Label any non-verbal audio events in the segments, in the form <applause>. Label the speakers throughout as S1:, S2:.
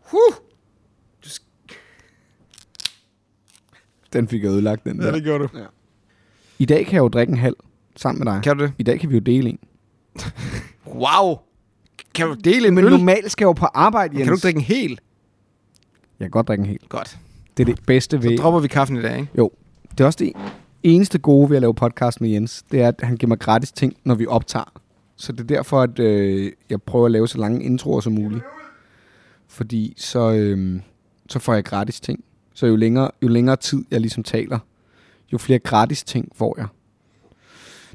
S1: Huh. Du sk-
S2: Den fik jeg ødelagt, den
S1: ja,
S2: der.
S1: det gjorde du.
S2: Ja. I dag kan jeg jo drikke en halv sammen med dig.
S1: Kan du det?
S2: I dag kan vi jo dele en.
S1: Wow. Kan du dele en
S2: Men
S1: øl?
S2: normalt skal jeg jo på arbejde, Jens.
S1: Kan du ikke drikke en hel?
S2: Jeg kan godt drikke en hel.
S1: Godt.
S2: Det er det bedste
S1: Så
S2: ved...
S1: dropper vi kaffen i dag, ikke?
S2: Jo, det er også det eneste gode ved at lave podcast med Jens, det er, at han giver mig gratis ting, når vi optager. Så det er derfor, at øh, jeg prøver at lave så lange introer som muligt. Fordi så, øh, så får jeg gratis ting. Så jo længere, jo længere tid jeg ligesom taler, jo flere gratis ting får jeg.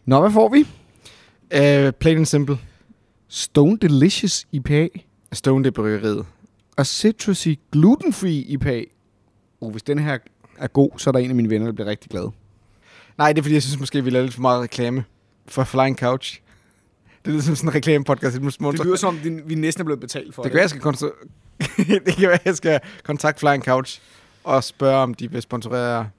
S2: Nå, hvad får vi?
S1: Uh, plain and simple.
S2: Stone Delicious IPA
S1: Stone det bryggeriet.
S2: og Citrusy Gluten-Free IPA. Uh, hvis den her er god, så er der en af mine venner, der bliver rigtig glad.
S1: Nej, det er fordi, jeg synes måske, vi lavede lidt for meget reklame for Flying Couch. Det lyder som sådan en reklamepodcast. Det, det,
S2: som om, vi næsten er blevet betalt for
S1: det kan være, jeg skal, konstru- <laughs> det kan være, jeg skal kontakte Flying Couch og spørge, om de vil sponsorere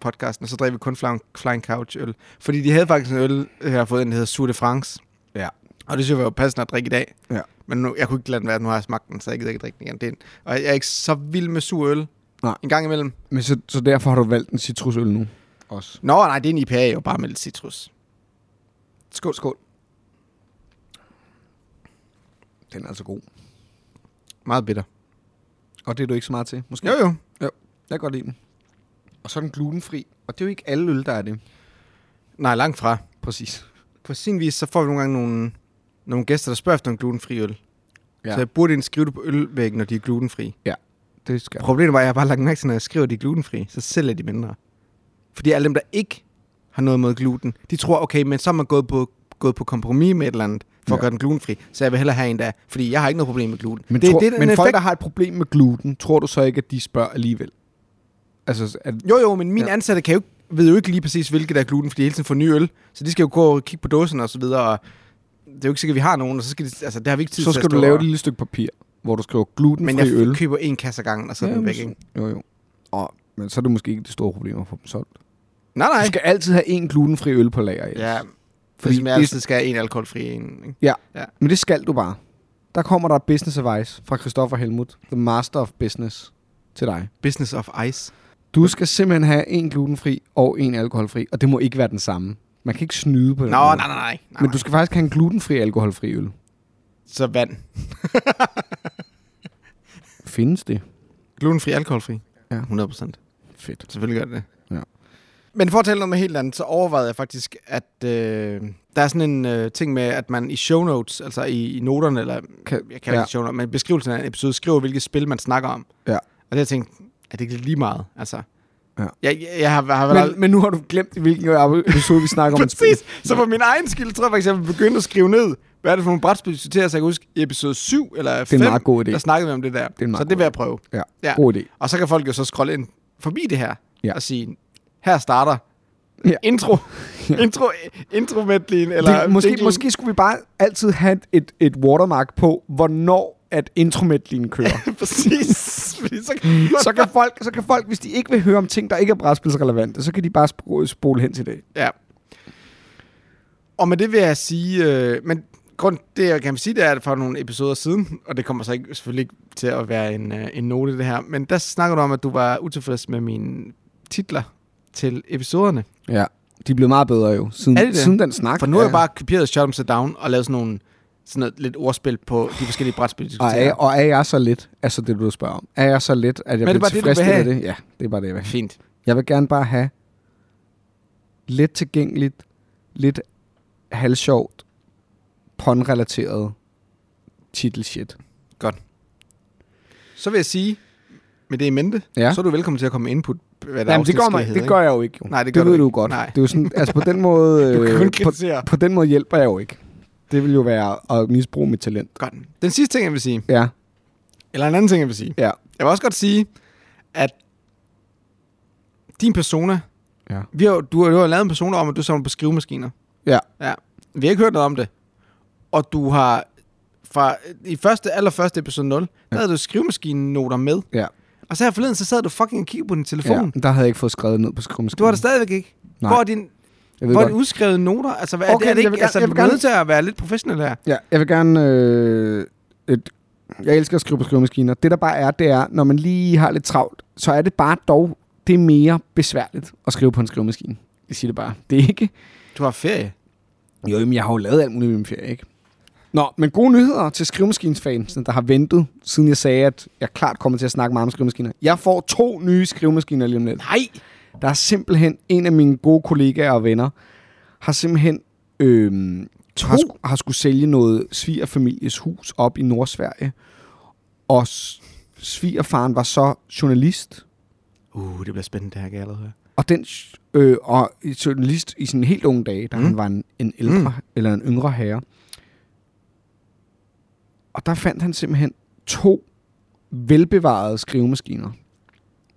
S1: podcasten. Og så drev vi kun Flying, Flying Couch øl. Fordi de havde faktisk en øl, jeg har fået en, der hedder Sur de France.
S2: Ja.
S1: Og det synes jeg var passende at drikke i dag.
S2: Ja.
S1: Men nu, jeg kunne ikke lade den være, nu har jeg smagt den, så jeg gider ikke drikke den igen. Det er en, og jeg er ikke så vild med sur øl
S2: Nej.
S1: en gang imellem.
S2: Men så, så derfor har du valgt en citrusøl nu? Også.
S1: Nå, nej, det er en IPA jo, bare med lidt citrus.
S2: Skål, skål. Den er altså god.
S1: Meget bitter.
S2: Og det er du ikke så meget til, måske?
S1: Jo, jo.
S2: Jeg kan godt lide den. Og så er den glutenfri. Og det er jo ikke alle øl, der er det.
S1: Nej, langt fra.
S2: Præcis.
S1: På sin vis, så får vi nogle gange nogle, nogle gæster, der spørger efter en glutenfri øl.
S2: Ja.
S1: Ja. Så jeg burde indskrive det på ølvæggen, når de er glutenfri.
S2: Det skal
S1: Problemet var, at jeg har bare lagt mærke til, når jeg skriver, at de er glutenfri, så sælger de mindre. Fordi alle dem, der ikke har noget mod gluten, de tror, okay, men så er man gået på, gået på kompromis med et eller andet, for
S2: Ja.
S1: at gøre den glutenfri. Så jeg vil hellere have en der, fordi jeg har ikke noget problem med gluten.
S2: Men, det, tror, det,
S1: er
S2: men
S1: en
S2: folk,
S1: effekt-
S2: der har et problem med gluten, tror du så ikke, at de spørger alligevel? Altså, at,
S1: Jo, jo, men min
S2: Ja.
S1: ja. ansatte kan jo ikke, ved jo ikke lige præcis, hvilket der er gluten, fordi de hele tiden får ny øl. Så de skal jo gå og kigge på dåsen og så videre, og det er jo ikke sikkert, at vi har nogen, og så skal de, altså, det har vi ikke tid
S2: så
S1: til at
S2: skal du
S1: stå
S2: lave
S1: og-
S2: et lille stykke papir, hvor du skriver
S1: Men
S2: glutenfri
S1: jeg
S2: øl.
S1: køber en kasse af gangen, og så er den
S2: men
S1: væk,
S2: så-
S1: ikke?
S2: Jo, jo. Og, men så er det måske ikke det store problem at få dem solgt.
S1: Nej, nej.
S2: Du skal altid have en glutenfri øl på lager. Jens.
S1: Ja, fordi
S2: Fordi
S1: som jeg
S2: det-
S1: altid skal have en alkoholfri en, ikke?
S2: Men det skal du bare. Der kommer der et business advice fra Christoffer Helmut, the master of business, til dig.
S1: Business of ice.
S2: Du skal simpelthen have en glutenfri og en alkoholfri, og det må ikke være den samme. Man kan ikke snyde på
S1: Nå,
S2: den
S1: nej,
S2: måde.
S1: nej, nej. nej.
S2: Men du skal faktisk have en glutenfri alkoholfri øl.
S1: Så vand.
S2: Findes det?
S1: Glutenfri, alkoholfri.
S2: Ja.
S1: 100 procent.
S2: Fedt.
S1: Selvfølgelig gør det det.
S2: Ja.
S1: Men for at tale noget med helt andet, så overvejede jeg faktisk, at øh, der er sådan en øh, ting med, at man i show notes, altså i, i noterne, eller
S2: Kan-
S1: kan, jeg kalder
S2: ja.
S1: ja. det show notes, men beskrivelsen af en episode, skriver, hvilket spil man snakker om.
S2: Ja.
S1: Og det har jeg tænkt, er det ikke lige meget? Altså,
S2: Ja.
S1: jeg, jeg, jeg har, jeg har vel aldrig-
S2: Men,
S1: <laughs>
S2: men nu har du glemt, i hvilken episode vi snakker om. et spil.
S1: Præcis. Så for min egen skyld, tror jeg faktisk, jeg vil begynde at skrive ned, hvad er det for nogle brætspil, vi citerer, så jeg kan huske, i episode 7 eller 5,
S2: en meget god idé.
S1: der snakkede vi om det der.
S2: en meget
S1: så det
S2: god
S1: vil jeg prøve.
S2: Ja,
S1: Ja.
S2: god idé.
S1: Og så kan folk jo så scrolle ind forbi det her
S2: Ja.
S1: ja. og sige, her starter
S2: Ja.
S1: ja.
S2: <laughs>
S1: intro, intro, intro medleyen, eller
S2: det, måske,
S1: jinglen.
S2: måske skulle vi bare altid have et, et watermark på, hvornår at intromedlinen
S1: <laughs>
S2: kører.
S1: <laughs> Præcis. Fordi så kan,
S2: så, kan folk, så kan folk, hvis de ikke vil høre om ting, der ikke er brætspilsrelevante, så kan de bare spole, spole hen til det.
S1: Ja. Og med det vil jeg sige, øh, men grund det jeg kan sige, det er, at for nogle episoder siden, og det kommer så ikke, selvfølgelig ikke til at være en, øh, en note det her, men der snakker du om, at du var utilfreds med mine titler til episoderne.
S2: Ja, de er blevet meget bedre jo, siden,
S1: Er de det?
S2: siden den snak.
S1: For nu har
S2: Ja.
S1: jeg bare kopieret Shut 'em Sit Down og lavet sådan nogle sådan noget, lidt ordspil på de forskellige brætspil, vi
S2: Og er,
S1: diskuterer.
S2: og er jeg så let, altså det du spørger om, er jeg så let, at jeg
S1: det er
S2: bliver
S1: bare det, du vil
S2: tilfredsstillet af det? Ja, det er bare det, jeg vil have.
S1: Fint.
S2: Jeg vil gerne bare have let tilgængeligt, lidt halvsjovt, pånrelateret titelshit.
S1: Så vil jeg sige, med det i mente,
S2: Ja.
S1: ja. så er du velkommen til at komme med input, hvad der
S2: Jamen, det, gør, mig, det gør jeg jo ikke. Jo.
S1: Nej, det
S2: det
S1: gør du
S2: ved du
S1: ikke.
S2: godt.
S1: Nej.
S2: Det er jo
S1: <laughs>
S2: sådan, altså på den måde,
S1: Du kan
S2: øh,
S1: kun
S2: på,
S1: kritisere.
S2: på den måde hjælper jeg jo ikke. Det vil jo være at misbruge mit talent.
S1: Godt. Den sidste ting, jeg vil sige,
S2: Ja,
S1: eller en anden ting, jeg vil sige,
S2: ja,
S1: Jeg vil også godt sige, at din persona...
S2: Ja.
S1: Vi har, jo- du, har, du har lavet en persona om, at du samler på skrivemaskiner.
S2: ja.
S1: Ja. Vi har ikke hørt noget om det. Og du har... Fra, I første, allerførste episode 0, der havde du skrivemaskinen-noter med.
S2: Ja.
S1: Og så her forleden, så sad du fucking og kiggede på din telefon. Ja.
S2: ja. Der havde jeg ikke fået skrevet ned på skrivemaskinen.
S1: Du har det stadigvæk ikke.
S2: Nej,
S1: Hvor er, din,
S2: Jeg ved
S1: hvor er
S2: godt.
S1: de udskrevede noter? Altså, hvad,
S2: Okay,
S1: okay, er det, er det
S2: jeg
S1: ikke,
S2: vil gerne-
S1: altså,
S2: jeg
S1: jeg
S2: vil
S1: vil du er
S2: gerne-
S1: nødt til at være lidt professionel her.
S2: Ja, jeg vil gerne øh, et Jeg elsker at skrive på skrivemaskiner. Det der bare er, det er, når man lige har lidt travlt, så er det bare dog, det er mere besværligt at skrive på en skrivemaskine. Jeg siger det bare. Det er ikke...
S1: Du har ferie.
S2: Jo, men jeg har jo lavet alt muligt i min ferie, ikke? Nå, men gode nyheder til skrivemaskinsfansene, der har ventet, siden jeg sagde, at jeg klart kommer til at snakke meget om skrivemaskiner. Jeg får to nye skrivemaskiner lige om lidt.
S1: Nej!
S2: Der er simpelthen en af mine gode kollegaer og venner, har simpelthen øh, har, sku, har skulle sælge noget svigerfamilies hus op i Nordsverige. Og s- svigerfaren var så journalist,
S1: Uh, det bliver spændende, det her, kan jeg allerede høre.
S2: og den øh, og en journalist i sine helt unge dage, da mm. han var en, en ældre mm. eller en yngre herre. Og der fandt han simpelthen to velbevarede skrivemaskiner,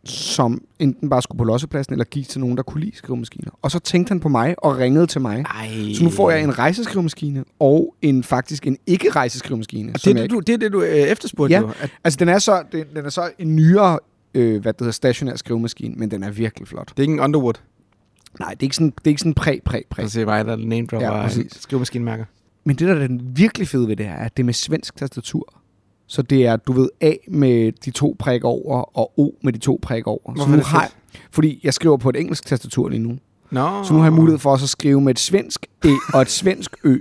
S2: som enten bare skulle på lossepladsen eller gik til nogen, der kunne lide skrivemaskiner. Og så tænkte han på mig og ringede til mig.
S1: Ej.
S2: Så nu får jeg en rejseskrivemaskine og en faktisk en ikke-rejseskrivemaskine.
S1: Og
S2: som
S1: det,
S2: jeg
S1: er det, du, det er det, du øh, efterspurgte
S2: Ja.
S1: jo. At,
S2: Altså, den er så, den, den er så en nyere, øh, hvad det hedder, stationær skrivemaskine, men den er virkelig flot.
S1: det er ikke en Underwood.
S2: Nej, det er ikke sådan, det er ikke sådan præ, præ, præ.
S1: Prøv at se mig, der er name dropper.
S2: Ja, præcis.
S1: Skrivemaskinemærker.
S2: Men det, der er den virkelig fede ved det her, er, at det er med svensk tastatur. Så det er, du ved, A med de to prikker over, og O med de to prikker over.
S1: Hvorfor
S2: så nu
S1: er det
S2: har jeg, fordi jeg skriver på et engelsk tastatur lige nu.
S1: Nå.
S2: Så nu har jeg mulighed for også at skrive med et svensk E og et svensk Ø.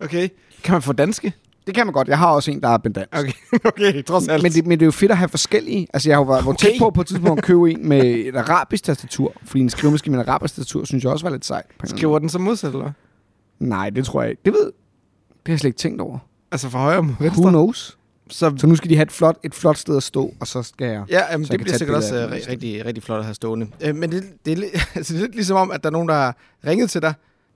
S1: Okay. Kan man få danske?
S2: Det kan man godt. Jeg har også en, der er bendansk.
S1: Okay, <laughs> okay trods alt.
S2: Men det, men det er jo fedt at have forskellige. Altså, jeg har jo været okay. tæt
S1: Okay.
S2: på på et tidspunkt at købe en med et arabisk tastatur. Fordi en skrivemaskine med et arabisk tastatur, synes jeg også var lidt sejt. på en eller anden
S1: Skriver den så modsat, eller hvad?
S2: måde. Nej, det tror jeg ikke. Det ved Det har jeg slet ikke tænkt over.
S1: Altså fra højre mod
S2: Who
S1: venstre?
S2: knows?
S1: Så,
S2: Så nu skal de have et flot, et flot sted at stå, og så skal jeg...
S1: ja, jamen,
S2: så jeg
S1: det
S2: kan
S1: bliver
S2: tage et billede
S1: sikkert også
S2: af den.
S1: øh, ri- rigtig, rigtig flot at have stående. Øh, men det, det, er, li- <laughs> altså, det er lidt ligesom om, at der er nogen, der har ringet til dig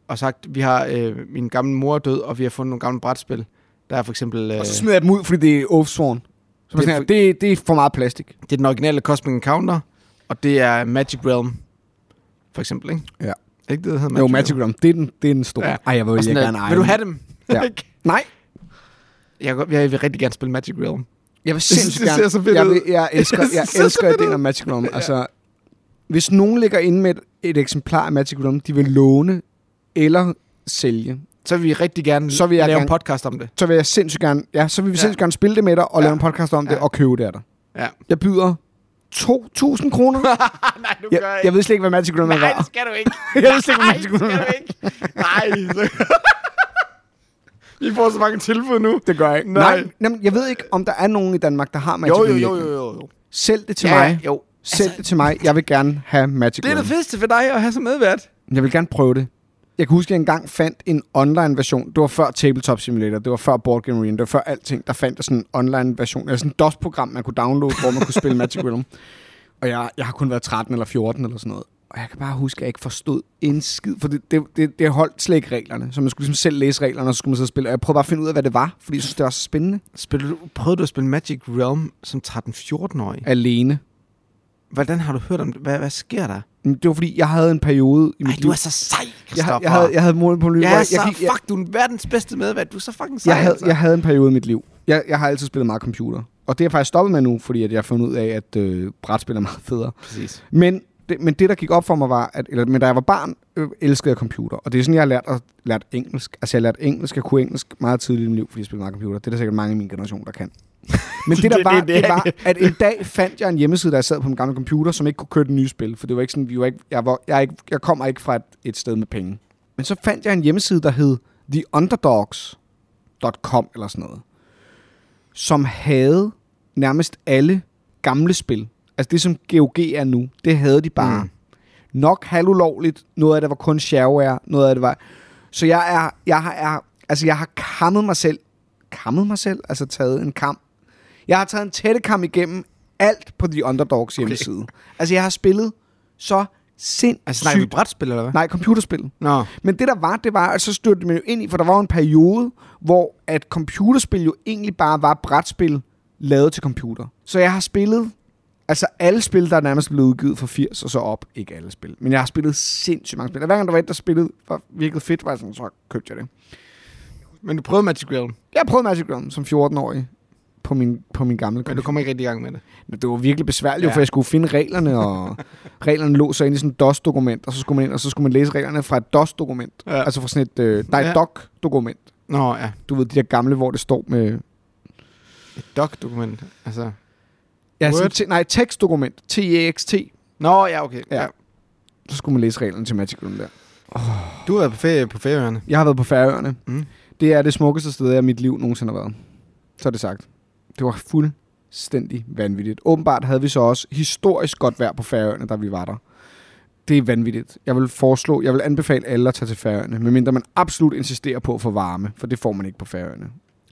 S1: og sagt, vi har øh, min gamle mor er død, og vi har fundet nogle gamle brætspil. Der er for eksempel... Øh,
S2: Og så smider jeg dem ud, fordi det er Oathsworn. Så
S1: Det er
S2: det, sådan, her, det, det er for meget plastik.
S1: Det er den originale Cosmic Encounter, og det er Magic Realm, for eksempel, ikke?
S2: Ja.
S1: Er Ikke det, der hedder
S2: Magic jo, Magic Realm, det er den, det er den store.
S1: Ja.
S2: Ja. Ej, jeg vil,
S1: Og
S2: jeg
S1: sådan,
S2: gerne
S1: øh,
S2: eje
S1: vil du
S2: den.
S1: have dem? <laughs>
S2: Ja. Nej,
S1: jeg, kan- jeg vil rigtig gerne spille Magic Realm.
S2: jeg vil
S1: synes,
S2: sindssygt
S1: <laughs> det
S2: gerne.
S1: ser så fedt
S2: jeg,
S1: ud.
S2: vil, jeg elsker,
S1: <laughs> Jeg synes,
S2: jeg
S1: det ser så
S2: elsker
S1: fedt
S2: ideen
S1: ud.
S2: om Magic
S1: <laughs>
S2: Realm. Altså, hvis nogen ligger inde med et, et eksemplar af Magic Realm, de vil låne eller sælge,
S1: Så vil vi rigtig gerne
S2: Så vil jeg
S1: lave en
S2: gerne-
S1: podcast om det.
S2: så vil jeg sindssygt gerne, ja, så vil vi
S1: Ja.
S2: ja. sindssygt gerne spille det med dig og ja.
S1: Ja.
S2: lave en podcast om det
S1: Ja.
S2: og købe det af dig.
S1: Ja.
S2: Jeg byder 2.000 kroner.
S1: Nej, du
S2: <laughs> jeg, jeg ved slet ikke, hvad Magic Realm er
S1: Nej, det
S2: værd.
S1: skal du <laughs> ikke.
S2: Jeg ved slet ikke, hvad
S1: Nej,
S2: man
S1: det
S2: skulle
S1: skal du
S2: gøre.
S1: ikke. Nej. Så... Vi får så mange tilbud nu.
S2: Det gør jeg ikke.
S1: Nej.
S2: Nej, Nej jamen, jeg ved ikke, om der er nogen i Danmark, der har Magic
S1: Jo,
S2: Realm.
S1: jo, jo,
S2: liggende.
S1: jo, jo. jo.
S2: Sælg det til
S1: ja,
S2: mig.
S1: Jo.
S2: Sælg det til mig. Jeg vil gerne have Magic
S1: Det er
S2: Realm.
S1: det fedeste for dig at have som medvært.
S2: Jeg vil gerne prøve det. Jeg kan huske, at jeg engang fandt en online-version. Det var før Tabletop Simulator, det var før Board Game Arena, det var før alting. Der fandt jeg sådan en online-version, eller sådan et DOS-program, man kunne downloade, hvor man kunne
S1: <laughs>
S2: spille Magic Realm. Og jeg, jeg har kun været 13 eller 14 eller sådan noget. Og jeg kan bare huske, at jeg ikke forstod en skid, for det, det, det, det holdt slet ikke reglerne. Så man skulle ligesom selv læse reglerne, og så skulle man så spille. Og jeg prøvede bare at finde ud af, hvad det var, fordi jeg synes, det var så spændende.
S1: Spiller du, prøvede du at spille Magic Realm som 13-14-årig?
S2: Alene.
S1: Hvordan har du hørt om det? Hvad, hvad sker der?
S2: Men det var fordi, jeg havde en periode i mit
S1: Ej, du
S2: liv-
S1: er så sej,
S2: jeg,
S1: Christoffer.
S2: havde- jeg, havde, jeg havde mål på livet.
S1: jeg,
S2: hvor
S1: er så,
S2: gik-
S1: fuck, du er verdens bedste medvært. Du er så fucking sej,
S2: jeg havde,
S1: altså.
S2: jeg havde en periode i mit liv. Jeg, jeg har altid spillet meget computer. Og det er jeg faktisk stoppet med nu, fordi at jeg har fundet ud af, at øh, brætspil er meget federe.
S1: Præcis.
S2: Men det, men det, der gik op for mig, var, at eller, men da jeg var barn, øh, elskede jeg computer. Og det er sådan, jeg har lært, at, lært engelsk. Altså, jeg har lært engelsk. Jeg kunne engelsk meget tidligt i mit liv, fordi jeg spillede meget computer. Det er der sikkert mange i min generation, der kan.
S1: <laughs>
S2: Men det, der
S1: Det-
S2: var,
S1: det-
S2: det,
S1: det er
S2: var, at en dag fandt jeg en hjemmeside, der jeg sad på min gamle computer, som ikke kunne køre det nye spil. For det var ikke sådan, vi var ikke, jeg, var, jeg, er ikke, jeg kommer ikke fra et, et sted med penge. Men så fandt jeg en hjemmeside, der hed theunderdogs.com eller sådan noget, som havde nærmest alle gamle spil. Altså det, som GOG er nu, det havde de bare.
S1: Mm.
S2: Mm. Nok halvulovligt. Noget af det var kun shareware. Noget af det var... Så jeg er, jeg har, er, altså jeg har kammet mig selv. Kammet mig selv? Altså taget en kam. Jeg har taget en tætte kam igennem alt på The Underdogs hjemmeside. Altså jeg har spillet så sindssygt...
S1: Altså, snakker vi brætspil, eller hvad?
S2: Nej, computerspil.
S1: Nå.
S2: Men det der var, det var, at så styrte man jo ind i, for der var jo en periode, hvor at computerspil jo egentlig bare var brætspil lavet til computer. Så jeg har spillet, altså alle spil, der er nærmest blevet udgivet fra 80 og så op, ikke alle spil, men jeg har spillet sindssygt mange spil. Og hver gang der var et, der spillede, var virkelig fedt, var jeg sådan, så købte jeg det.
S1: Men du prøvede Magic Realm,
S2: Jeg prøvede Magic Realm som 14-årig på min, på min gamle
S1: men du kom ikke rigtig i gang med det.
S2: det var virkelig besværligt, ja.
S1: Ja.
S2: for jeg skulle finde reglerne, og <laughs> reglerne lå så inde i sådan et DOS-dokument, og så skulle man ind, og så skulle man læse reglerne fra et DOS-dokument.
S1: Ja.
S2: Ja. Altså fra sådan et, øh, nej,
S1: Ja.
S2: ja. DOC-dokument.
S1: Nå, ja.
S2: Du ved, de der gamle, hvor det står med
S1: Et doc-dokument. Altså.
S2: Ja, sådan,
S1: Word?
S2: te- nej, tekstdokument. T-E-X-T.
S1: Nå, ja, okay.
S2: Ja.
S1: Ja.
S2: Så skulle man læse reglerne til Magicum der.
S1: Du har været på ferie på ferieøerne.
S2: Jeg har været på Færøerne.
S1: Mm.
S2: Det er det smukkeste sted, jeg i mit liv nogensinde har været. Så er det sagt. Det var fuldstændig vanvittigt. Åbenbart havde vi så også historisk godt vejr på Færøerne, da vi var der. Det er vanvittigt. Jeg vil foreslå, jeg vil anbefale alle at tage til Færøerne, medmindre man absolut insisterer på at få varme, for det får man ikke på Færøerne.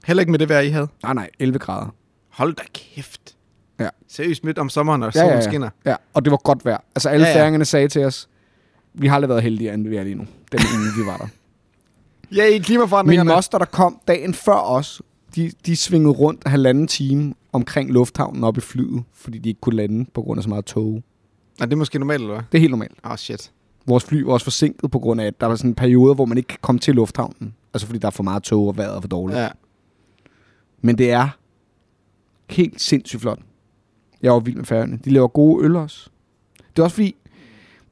S1: Heller ikke med det vejr, I havde.
S2: Nej, nej, 11 grader.
S1: Hold da kæft.
S2: Ja.
S1: Seriøst midt om sommeren, når
S2: Ja,
S1: ja,
S2: ja,
S1: solen
S2: ja.
S1: skinner.
S2: Ja, og det var godt vejr. Altså alle ja,
S1: Ja,
S2: ja.
S1: ja.
S2: færingerne sagde til os, vi har aldrig været heldigere, end vi er lige nu. Den ene, vi var der.
S1: <laughs> Ja, i
S2: Min
S1: klimaforandringerne.
S2: moster, der kom dagen før os, de, de svingede rundt halvanden time omkring lufthavnen op i flyet, fordi de ikke kunne lande på grund af så meget tog.
S1: Nej, det er måske normalt, eller hvad?
S2: Det er helt normalt.
S1: Åh, oh, shit.
S2: Vores fly var også forsinket på grund af, at der var sådan en periode, hvor man ikke kan komme til lufthavnen. Altså fordi der er for meget tog og vejret er for dårligt. Ja.
S1: Ja.
S2: Men det er helt sindssygt flot. Jeg var vild med færgerne. De laver gode øl også. Det er også fordi,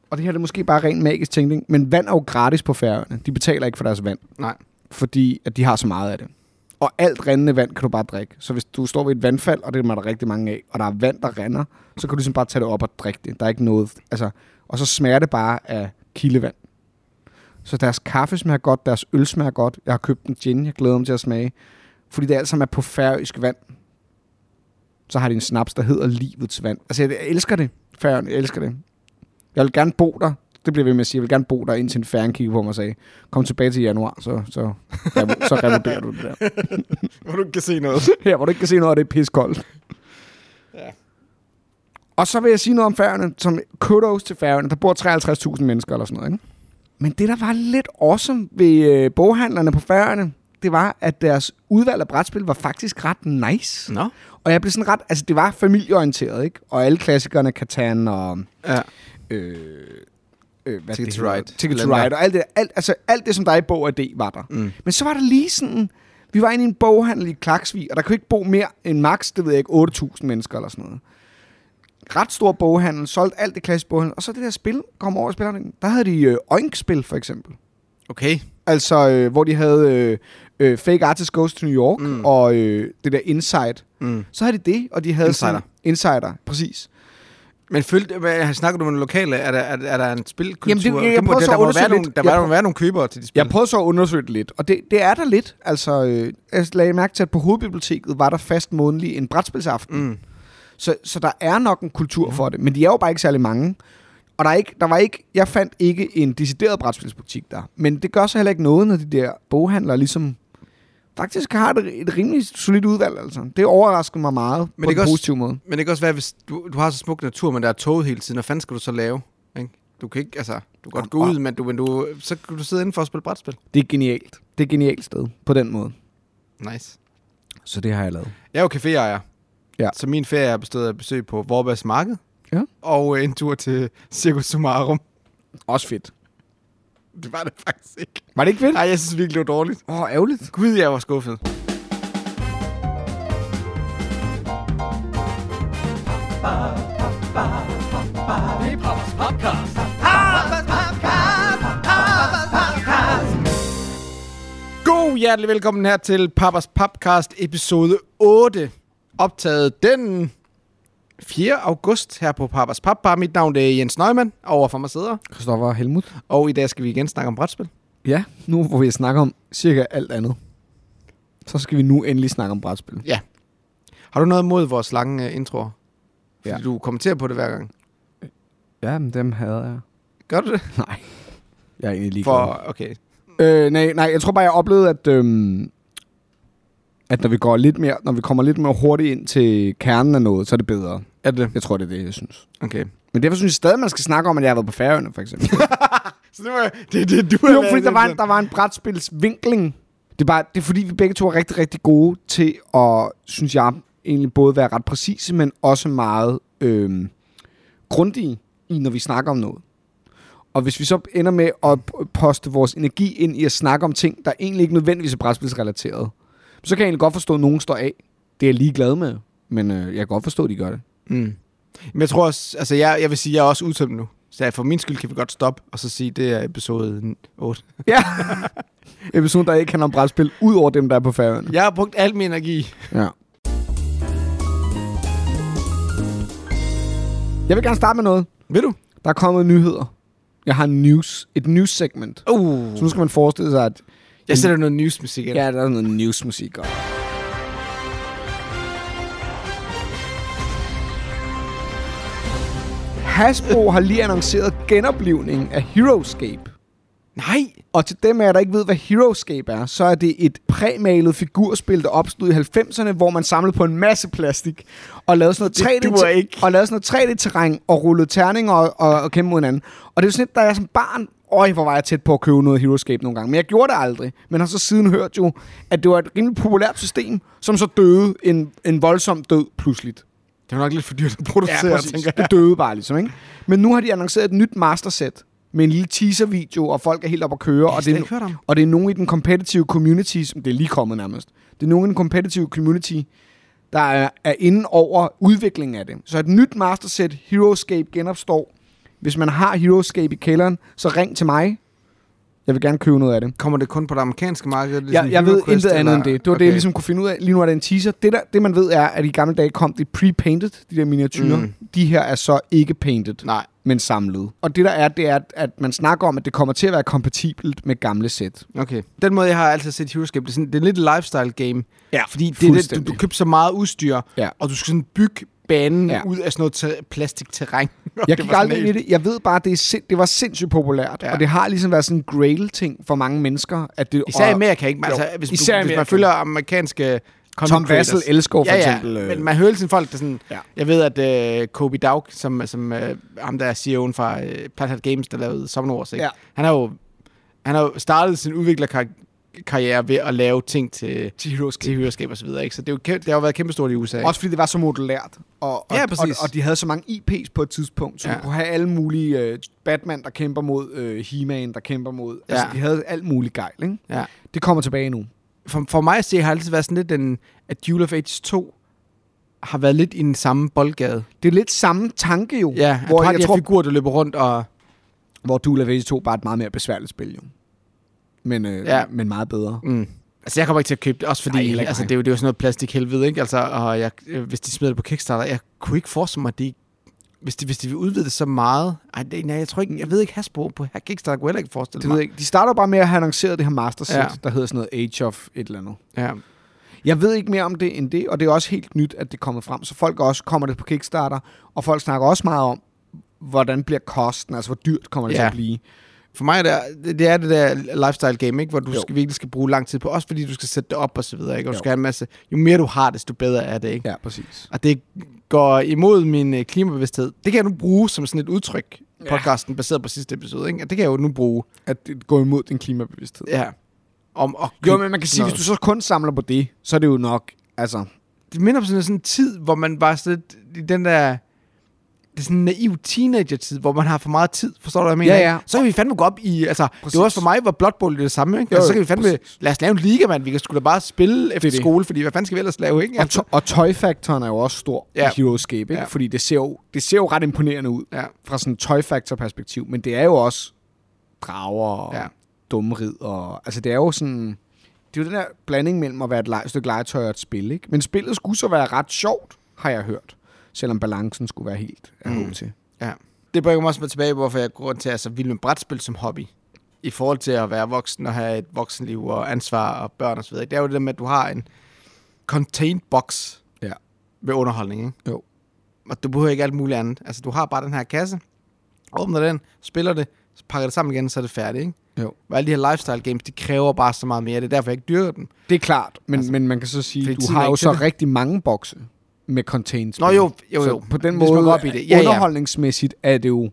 S2: og det her det er måske bare ren magisk tænkning, men vand er jo gratis på færgerne. De betaler ikke for deres vand.
S1: Nej.
S2: fordi at de har så meget af det. Og alt rendende vand kan du bare drikke. Så hvis du står ved et vandfald, og det er der rigtig mange af, og der er vand, der render, så kan du ligesom bare tage det op og drikke det. Der er ikke noget... Altså, og så smager det bare af kildevand. Så deres kaffe smager godt, deres øl smager godt. Jeg har købt en gin, jeg glæder mig til at smage. Fordi det alt sammen er på færøsk vand. Så har de en snaps, der hedder livets vand. Altså, jeg elsker det. Færøerne, jeg elsker det. Jeg vil gerne bo der. Det bliver jeg ved med at sige. Jeg vil gerne bo der, indtil en færgen kigger på mig og sagde, kom tilbage til januar, så, så, så revurderer du det der.
S1: Hvor du ikke kan se noget.
S2: Her, hvor du ikke kan se noget af det er piskoldt.
S1: Ja.
S2: Og så vil jeg sige noget om færgerne, som kudos til færgerne. Der bor 53.000 mennesker eller sådan noget, ikke? Men det, der var lidt awesome ved øh, boghandlerne på færgerne, det var, at deres udvalg af brætspil var faktisk ret nice.
S1: <laughs> Nå.
S2: Og jeg blev sådan ret... Altså, det var familieorienteret, ikke? Og alle klassikerne, Catan og...
S1: Ja.
S2: Øh, øh, hvad det
S1: Ticket to
S2: hedder?
S1: Ride.
S2: Ticket to
S1: Blender.
S2: Ride. Og alt det, der. alt, altså, alt det, som der er i bog og D, var der.
S1: Mm.
S2: Men så var der lige sådan... Vi var inde i en boghandel i Klaksvig, og der kunne ikke bo mere end max, det ved jeg ikke, 8.000 mennesker eller sådan noget. Ret stor boghandel, solgt alt det klassiske boghandel. Og så det der spil, kom over spillerne. Der havde de øh, Oink-spil, for eksempel.
S1: Okay.
S2: Altså, øh, hvor de havde øh, øh, Fake Artist Goes to New York mm.
S1: Mm.
S2: og øh, det der Insight.
S1: Mm.
S2: Så havde de det, og de havde Sådan,
S1: Insider.
S2: insider, præcis.
S1: Men følte, hvad, snakker du med den lokale? Er der, er, der- er der en spilkultur?
S2: Jamen, det- jeg- jeg
S1: Der må-
S2: prøver
S1: der,
S2: så at
S1: der, må
S2: undersøge
S1: være nogle,
S2: lidt.
S1: der
S2: Jeg
S1: må
S2: prøver-
S1: være nogle købere til de spil.
S2: Jeg prøvede så at undersøge det lidt, og det, det er der lidt. Altså, øh, jeg lagde mærke til, at på hovedbiblioteket var der fast månedlig en brætspilsaften.
S1: Mm.
S2: Så, så der er nok en kultur for det, men de er jo bare ikke særlig mange. Og der, er ikke, der var ikke, jeg fandt ikke en decideret brætspilsbutik der. Men det gør så heller ikke noget, når de der boghandlere ligesom faktisk har et, et rimelig solidt udvalg. Altså. Det overraskede mig meget men
S1: Men
S2: på
S1: det
S2: en
S1: kan også-
S2: positiv måde.
S1: Men det kan også være, hvis du, du har så smuk natur, men der er toget hele tiden. Hvad fanden skal du så lave? Ikke? Du kan ikke, altså, du kan godt gå
S2: Jamen,
S1: ud, men, du, men du, så kan du sidde indenfor og spille brætspil.
S2: Det er genialt. Det er et genialt sted på den måde.
S1: Nice.
S2: Så det har jeg lavet.
S1: Jeg er jo caféejer.
S2: Ja.
S1: Så min ferie er bestået af besøg på Vorbergs Marked.
S2: Ja.
S1: Og øh, en tur til Circus Sumarum.
S2: Også fedt.
S1: Det var det faktisk ikke.
S2: Var det ikke fedt?
S1: Nej, jeg synes virkelig, det var dårligt.
S2: Åh, oh, ærgerligt.
S1: Gud, jeg var skuffet. God hjertelig velkommen her til Papas Podcast episode 8, optaget den 4. august her på Papas Pappa. Mit navn det er Jens Neumann, over for mig sidder,
S2: Christoffer Helmut.
S1: og i dag skal vi igen snakke om brætspil.
S2: Ja, nu hvor vi snakker om cirka alt andet, så skal vi nu endelig snakke om brætspil.
S1: Har du noget imod vores lange uh, introer? Fordi
S2: Ja.
S1: ja. du kommenterer på det hver gang.
S2: Ja, men dem havde jeg.
S1: Gør du det?
S2: Nej. Jeg er egentlig ligeglad.
S1: For, okay.
S2: Øh, nej, nej, jeg tror bare, jeg oplevede, at, øhm, at når, vi går lidt mere, når vi kommer lidt mere hurtigt ind til kernen af noget, så er det bedre.
S1: Er det det?
S2: Jeg tror, det er det, jeg synes.
S1: Okay.
S2: Men derfor synes jeg stadig, man skal snakke om, at jeg har været på Færøerne, for eksempel.
S1: Så det var det, det du
S2: jo, fordi der var, en, der var en brætspilsvinkling. Det er, bare, det er fordi, vi begge to er rigtig, rigtig gode til at, synes jeg, egentlig både være ret præcise, men også meget øh, grundige i, når vi snakker om noget. Og hvis vi så ender med at p- poste vores energi ind i at snakke om ting, der egentlig ikke nødvendigvis er brætspilsrelateret, så kan jeg egentlig godt forstå, at nogen står af. Det er jeg ligeglad med, men øh, jeg kan godt forstå, at de gør det.
S1: Mm. Men jeg tror også, altså jeg, jeg vil sige, jeg er også udtømt nu. Så for min skyld kan vi godt stoppe, og så sige, det er episode 8.
S2: <laughs> Ja. Episoden, der ikke handler om brætspil, ud over dem, der er på færøerne.
S1: Jeg har brugt al min energi.
S2: Ja. Jeg vil gerne starte med noget.
S1: Vil du?
S2: Der er kommet nyheder. Jeg har news, et news segment.
S1: Uh.
S2: Så nu skal man forestille sig, at
S1: Jeg sætter noget newsmusik ind.
S2: ja, der er noget newsmusik. Og... Hasbro har lige annonceret genoplivning af Heroescape.
S1: Nej.
S2: Og til dem af jer, der ikke ved, hvad Heroescape er, så er det et præmalet figurspil, der opstod i 90'erne, hvor man samlede på en masse plastik og lavede sådan noget 3D
S1: duer ikke.
S2: og lavede sådan noget 3D-terræn og rullede terninger og, og, og kæmpede mod hinanden. Og det er jo sådan lidt, da jeg som barn, øj, hvor var jeg tæt på at købe noget Heroescape nogle gange. Men jeg gjorde det aldrig. Men har så siden hørt jo, at det var et rimelig populært system, som så døde en, en voldsom død pludseligt.
S1: Det var nok lidt for dyrt at producere, ja, tænker jeg.
S2: Det døde bare ligesom, ikke? Men nu har de annonceret et nyt masterset med en lille teaser-video, og folk er helt op at køre. Og
S1: slet
S2: det, er,
S1: ikke hørt om.
S2: og det er nogen i den competitive community, som det er lige kommet nærmest. Det er nogen i den competitive community, der er, er inde over udviklingen af det. Så et nyt masterset Heroescape genopstår. Hvis man har Heroescape i kælderen, så ring til mig. Jeg vil gerne købe noget af det.
S1: Kommer det kun på det amerikanske marked? Ligesom
S2: Jeg, jeg ved
S1: HeroQuest,
S2: intet andet end
S1: eller-
S2: det. Det var okay. det, jeg ligesom kunne finde ud af. Lige nu er det en teaser. Det, der, det man ved er, at i gamle dage kom det pre-painted, de der miniatyrer.
S1: Mm.
S2: Mm. De her er så ikke painted,
S1: Nej.
S2: men samlet. Og det der er, det er, at- at man snakker om, at det kommer til at være kompatibelt med gamle sæt.
S1: Okay. Den måde, jeg har altid set Heroescape, det er, sådan, det er lidt et lifestyle game.
S2: Ja,
S1: Fordi det er det, du,
S2: fuldstændig.
S1: du købte så meget udstyr,
S2: Ja.
S1: og du skal sådan bygge banen ja.
S2: Ja.
S1: ud af sådan noget ter- plastikterræn. <laughs>
S2: Jeg gik aldrig ind i det. Jeg ved bare, at det, er sind, det var sindssygt populært.
S1: Ja.
S2: Ja. Og det har ligesom været sådan en grail-ting for mange mennesker. At det,
S1: Især i
S2: og-
S1: Amerika, ikke? Men
S2: Jo.
S1: Altså, hvis,
S2: Især
S1: Især
S2: i
S1: du, hvis man
S2: Amerika.
S1: følger amerikanske content
S2: Tom Vassel
S1: creators.
S2: Elskov for
S1: ja, ja.
S2: eksempel. øh,
S1: Men man hører sådan folk, der sådan... Ja.
S2: Ja.
S1: Jeg ved, at øh, Kobe Daug, som, som øh, ham der er CEO'en fra øh, Planet Games, der lavede Sommernords, ikke?
S2: Ja.
S1: Ja. Han har jo han har jo startet sin udviklerkarriere ved at lave ting til, til Heroescape, til Heroescape og så videre, ikke? Så det, er jo, kæm- det har jo været kæmpestort i USA.
S2: Også fordi det var så modellært. Og, og,
S1: Ja,
S2: og,
S1: præcis.
S2: og de havde så mange IP's på et tidspunkt, så
S1: Ja.
S2: ja. du kunne have alle mulige øh, Batman, der kæmper mod øh, He-Man, der kæmper mod... Ja.
S1: Ja.
S2: Altså, de havde alt muligt gejl, ikke?
S1: Ja.
S2: Det kommer tilbage nu.
S1: for, for mig at se, har det altid været sådan lidt, den, at Duel of Age 2 har været lidt i den samme boldgade.
S2: Det er lidt samme tanke jo,
S1: Ja, hvor
S2: hvor,
S1: du har
S2: jeg
S1: de her
S2: tror,
S1: figurer, der løber rundt og...
S2: hvor Duel of Age 2 bare er et meget mere besværligt spil jo. Men, øh,
S1: Ja.
S2: ja. men meget bedre.
S1: Mm. Altså, jeg kommer ikke til at købe det, også
S2: Nej,
S1: fordi
S2: heller
S1: Nej,
S2: ikke
S1: altså,
S2: mig.
S1: det, er jo, det er jo sådan noget plastikhelvede, ikke? Altså, og jeg, øh, hvis de smider det på Kickstarter, jeg kunne ikke forestille mig, at de, hvis de, hvis de vil udvide det så meget... Ej, det, nej, jeg tror ikke, jeg ved ikke Hasbro på her Kickstarter, kunne jeg heller ikke forestille
S2: Det ved
S1: mig.
S2: jeg ikke. De starter bare med at have annonceret det her masterset,
S1: Ja.
S2: ja. der hedder sådan noget Age of et eller andet.
S1: Ja.
S2: Jeg ved ikke mere om det end det, og det er også helt nyt, at det er kommet frem. Så folk også kommer det på Kickstarter, og folk snakker også meget om, hvordan bliver kosten, altså hvor dyrt kommer det ja. til
S1: Ja.
S2: at blive.
S1: For mig er det, det, det er det der lifestyle game, ikke? hvor du
S2: Jo.
S1: skal, virkelig skal bruge lang tid på, også fordi du skal sætte det op og så videre. Ikke? Og du
S2: Jo.
S1: skal have en masse, jo mere du har, desto bedre er det. Ikke?
S2: Ja, præcis.
S1: Og det går imod min øh, klimabevidsthed. Det kan jeg nu bruge som sådan et udtryk, podcasten baseret på sidste episode. Ikke? At det kan jeg jo nu bruge.
S2: At det går imod din klimabevidsthed.
S1: Ja. Om at
S2: Jo, men man kan sige,
S1: Nå.
S2: hvis du så kun samler på det, så er det jo nok, altså...
S1: Det minder om sådan, sådan en tid, hvor man bare sådan lidt i den der... Det er sådan en naiv teenager-tid, hvor man har for meget tid. Forstår du, hvad jeg mener?
S2: Ja,
S1: ikke?
S2: ja.
S1: Så kan vi fandme gå op i... Altså, præcis. det
S2: Præcis.
S1: var også for mig, var Blood Bowl det samme, ikke?
S2: Jo,
S1: altså,
S2: jo,
S1: så kan vi fandme...
S2: præcis.
S1: Lad os lave en liga, mand. Vi kan sgu da bare spille efter
S2: er det.
S1: skole, fordi hvad fanden skal vi ellers lave, ikke?
S2: Og,
S1: Altså,
S2: to- og tøjfaktoren er jo også stor
S1: Ja.
S2: ja. i Heroescape, ikke?
S1: Ja.
S2: Ja. fordi det ser, jo, det ser jo ret imponerende ud
S1: ja.
S2: fra sådan et tøjfaktor-perspektiv, men det er jo også drager og
S1: Ja.
S2: ja. dumrid, og, altså det er jo sådan... Det er jo den der blanding mellem at være et lege, stykke legetøj og et spil, ikke? Men spillet skulle så være ret sjovt, har jeg hørt, selvom balancen skulle være helt af mm. til.
S1: Ja. Det bringer mig også med tilbage, hvorfor jeg går rundt til at være så vild med brætspil som hobby. I forhold til at være voksen og have et voksenliv og ansvar og børn og så videre. Det er jo det der med, at du har en contained box
S2: Ja.
S1: med underholdning, ikke?
S2: Jo.
S1: Og du behøver ikke alt muligt andet. Altså, du har bare den her kasse, åbner den, spiller det, så pakker det sammen igen, så er det færdigt, ikke?
S2: Jo.
S1: Og alle de her lifestyle games, de kræver bare så meget mere. Det er derfor, jeg ikke dyrker dem.
S2: Det er klart, men, altså, men man kan så sige,
S1: fordi
S2: du
S1: tiden er
S2: har jo
S1: ikke
S2: så
S1: til det.
S2: rigtig mange bokse med contained
S1: Nå, jo, jo, jo.
S2: Så på den
S1: Hvis man
S2: måde,
S1: går op i det. Ja, ja.
S2: underholdningsmæssigt er det jo,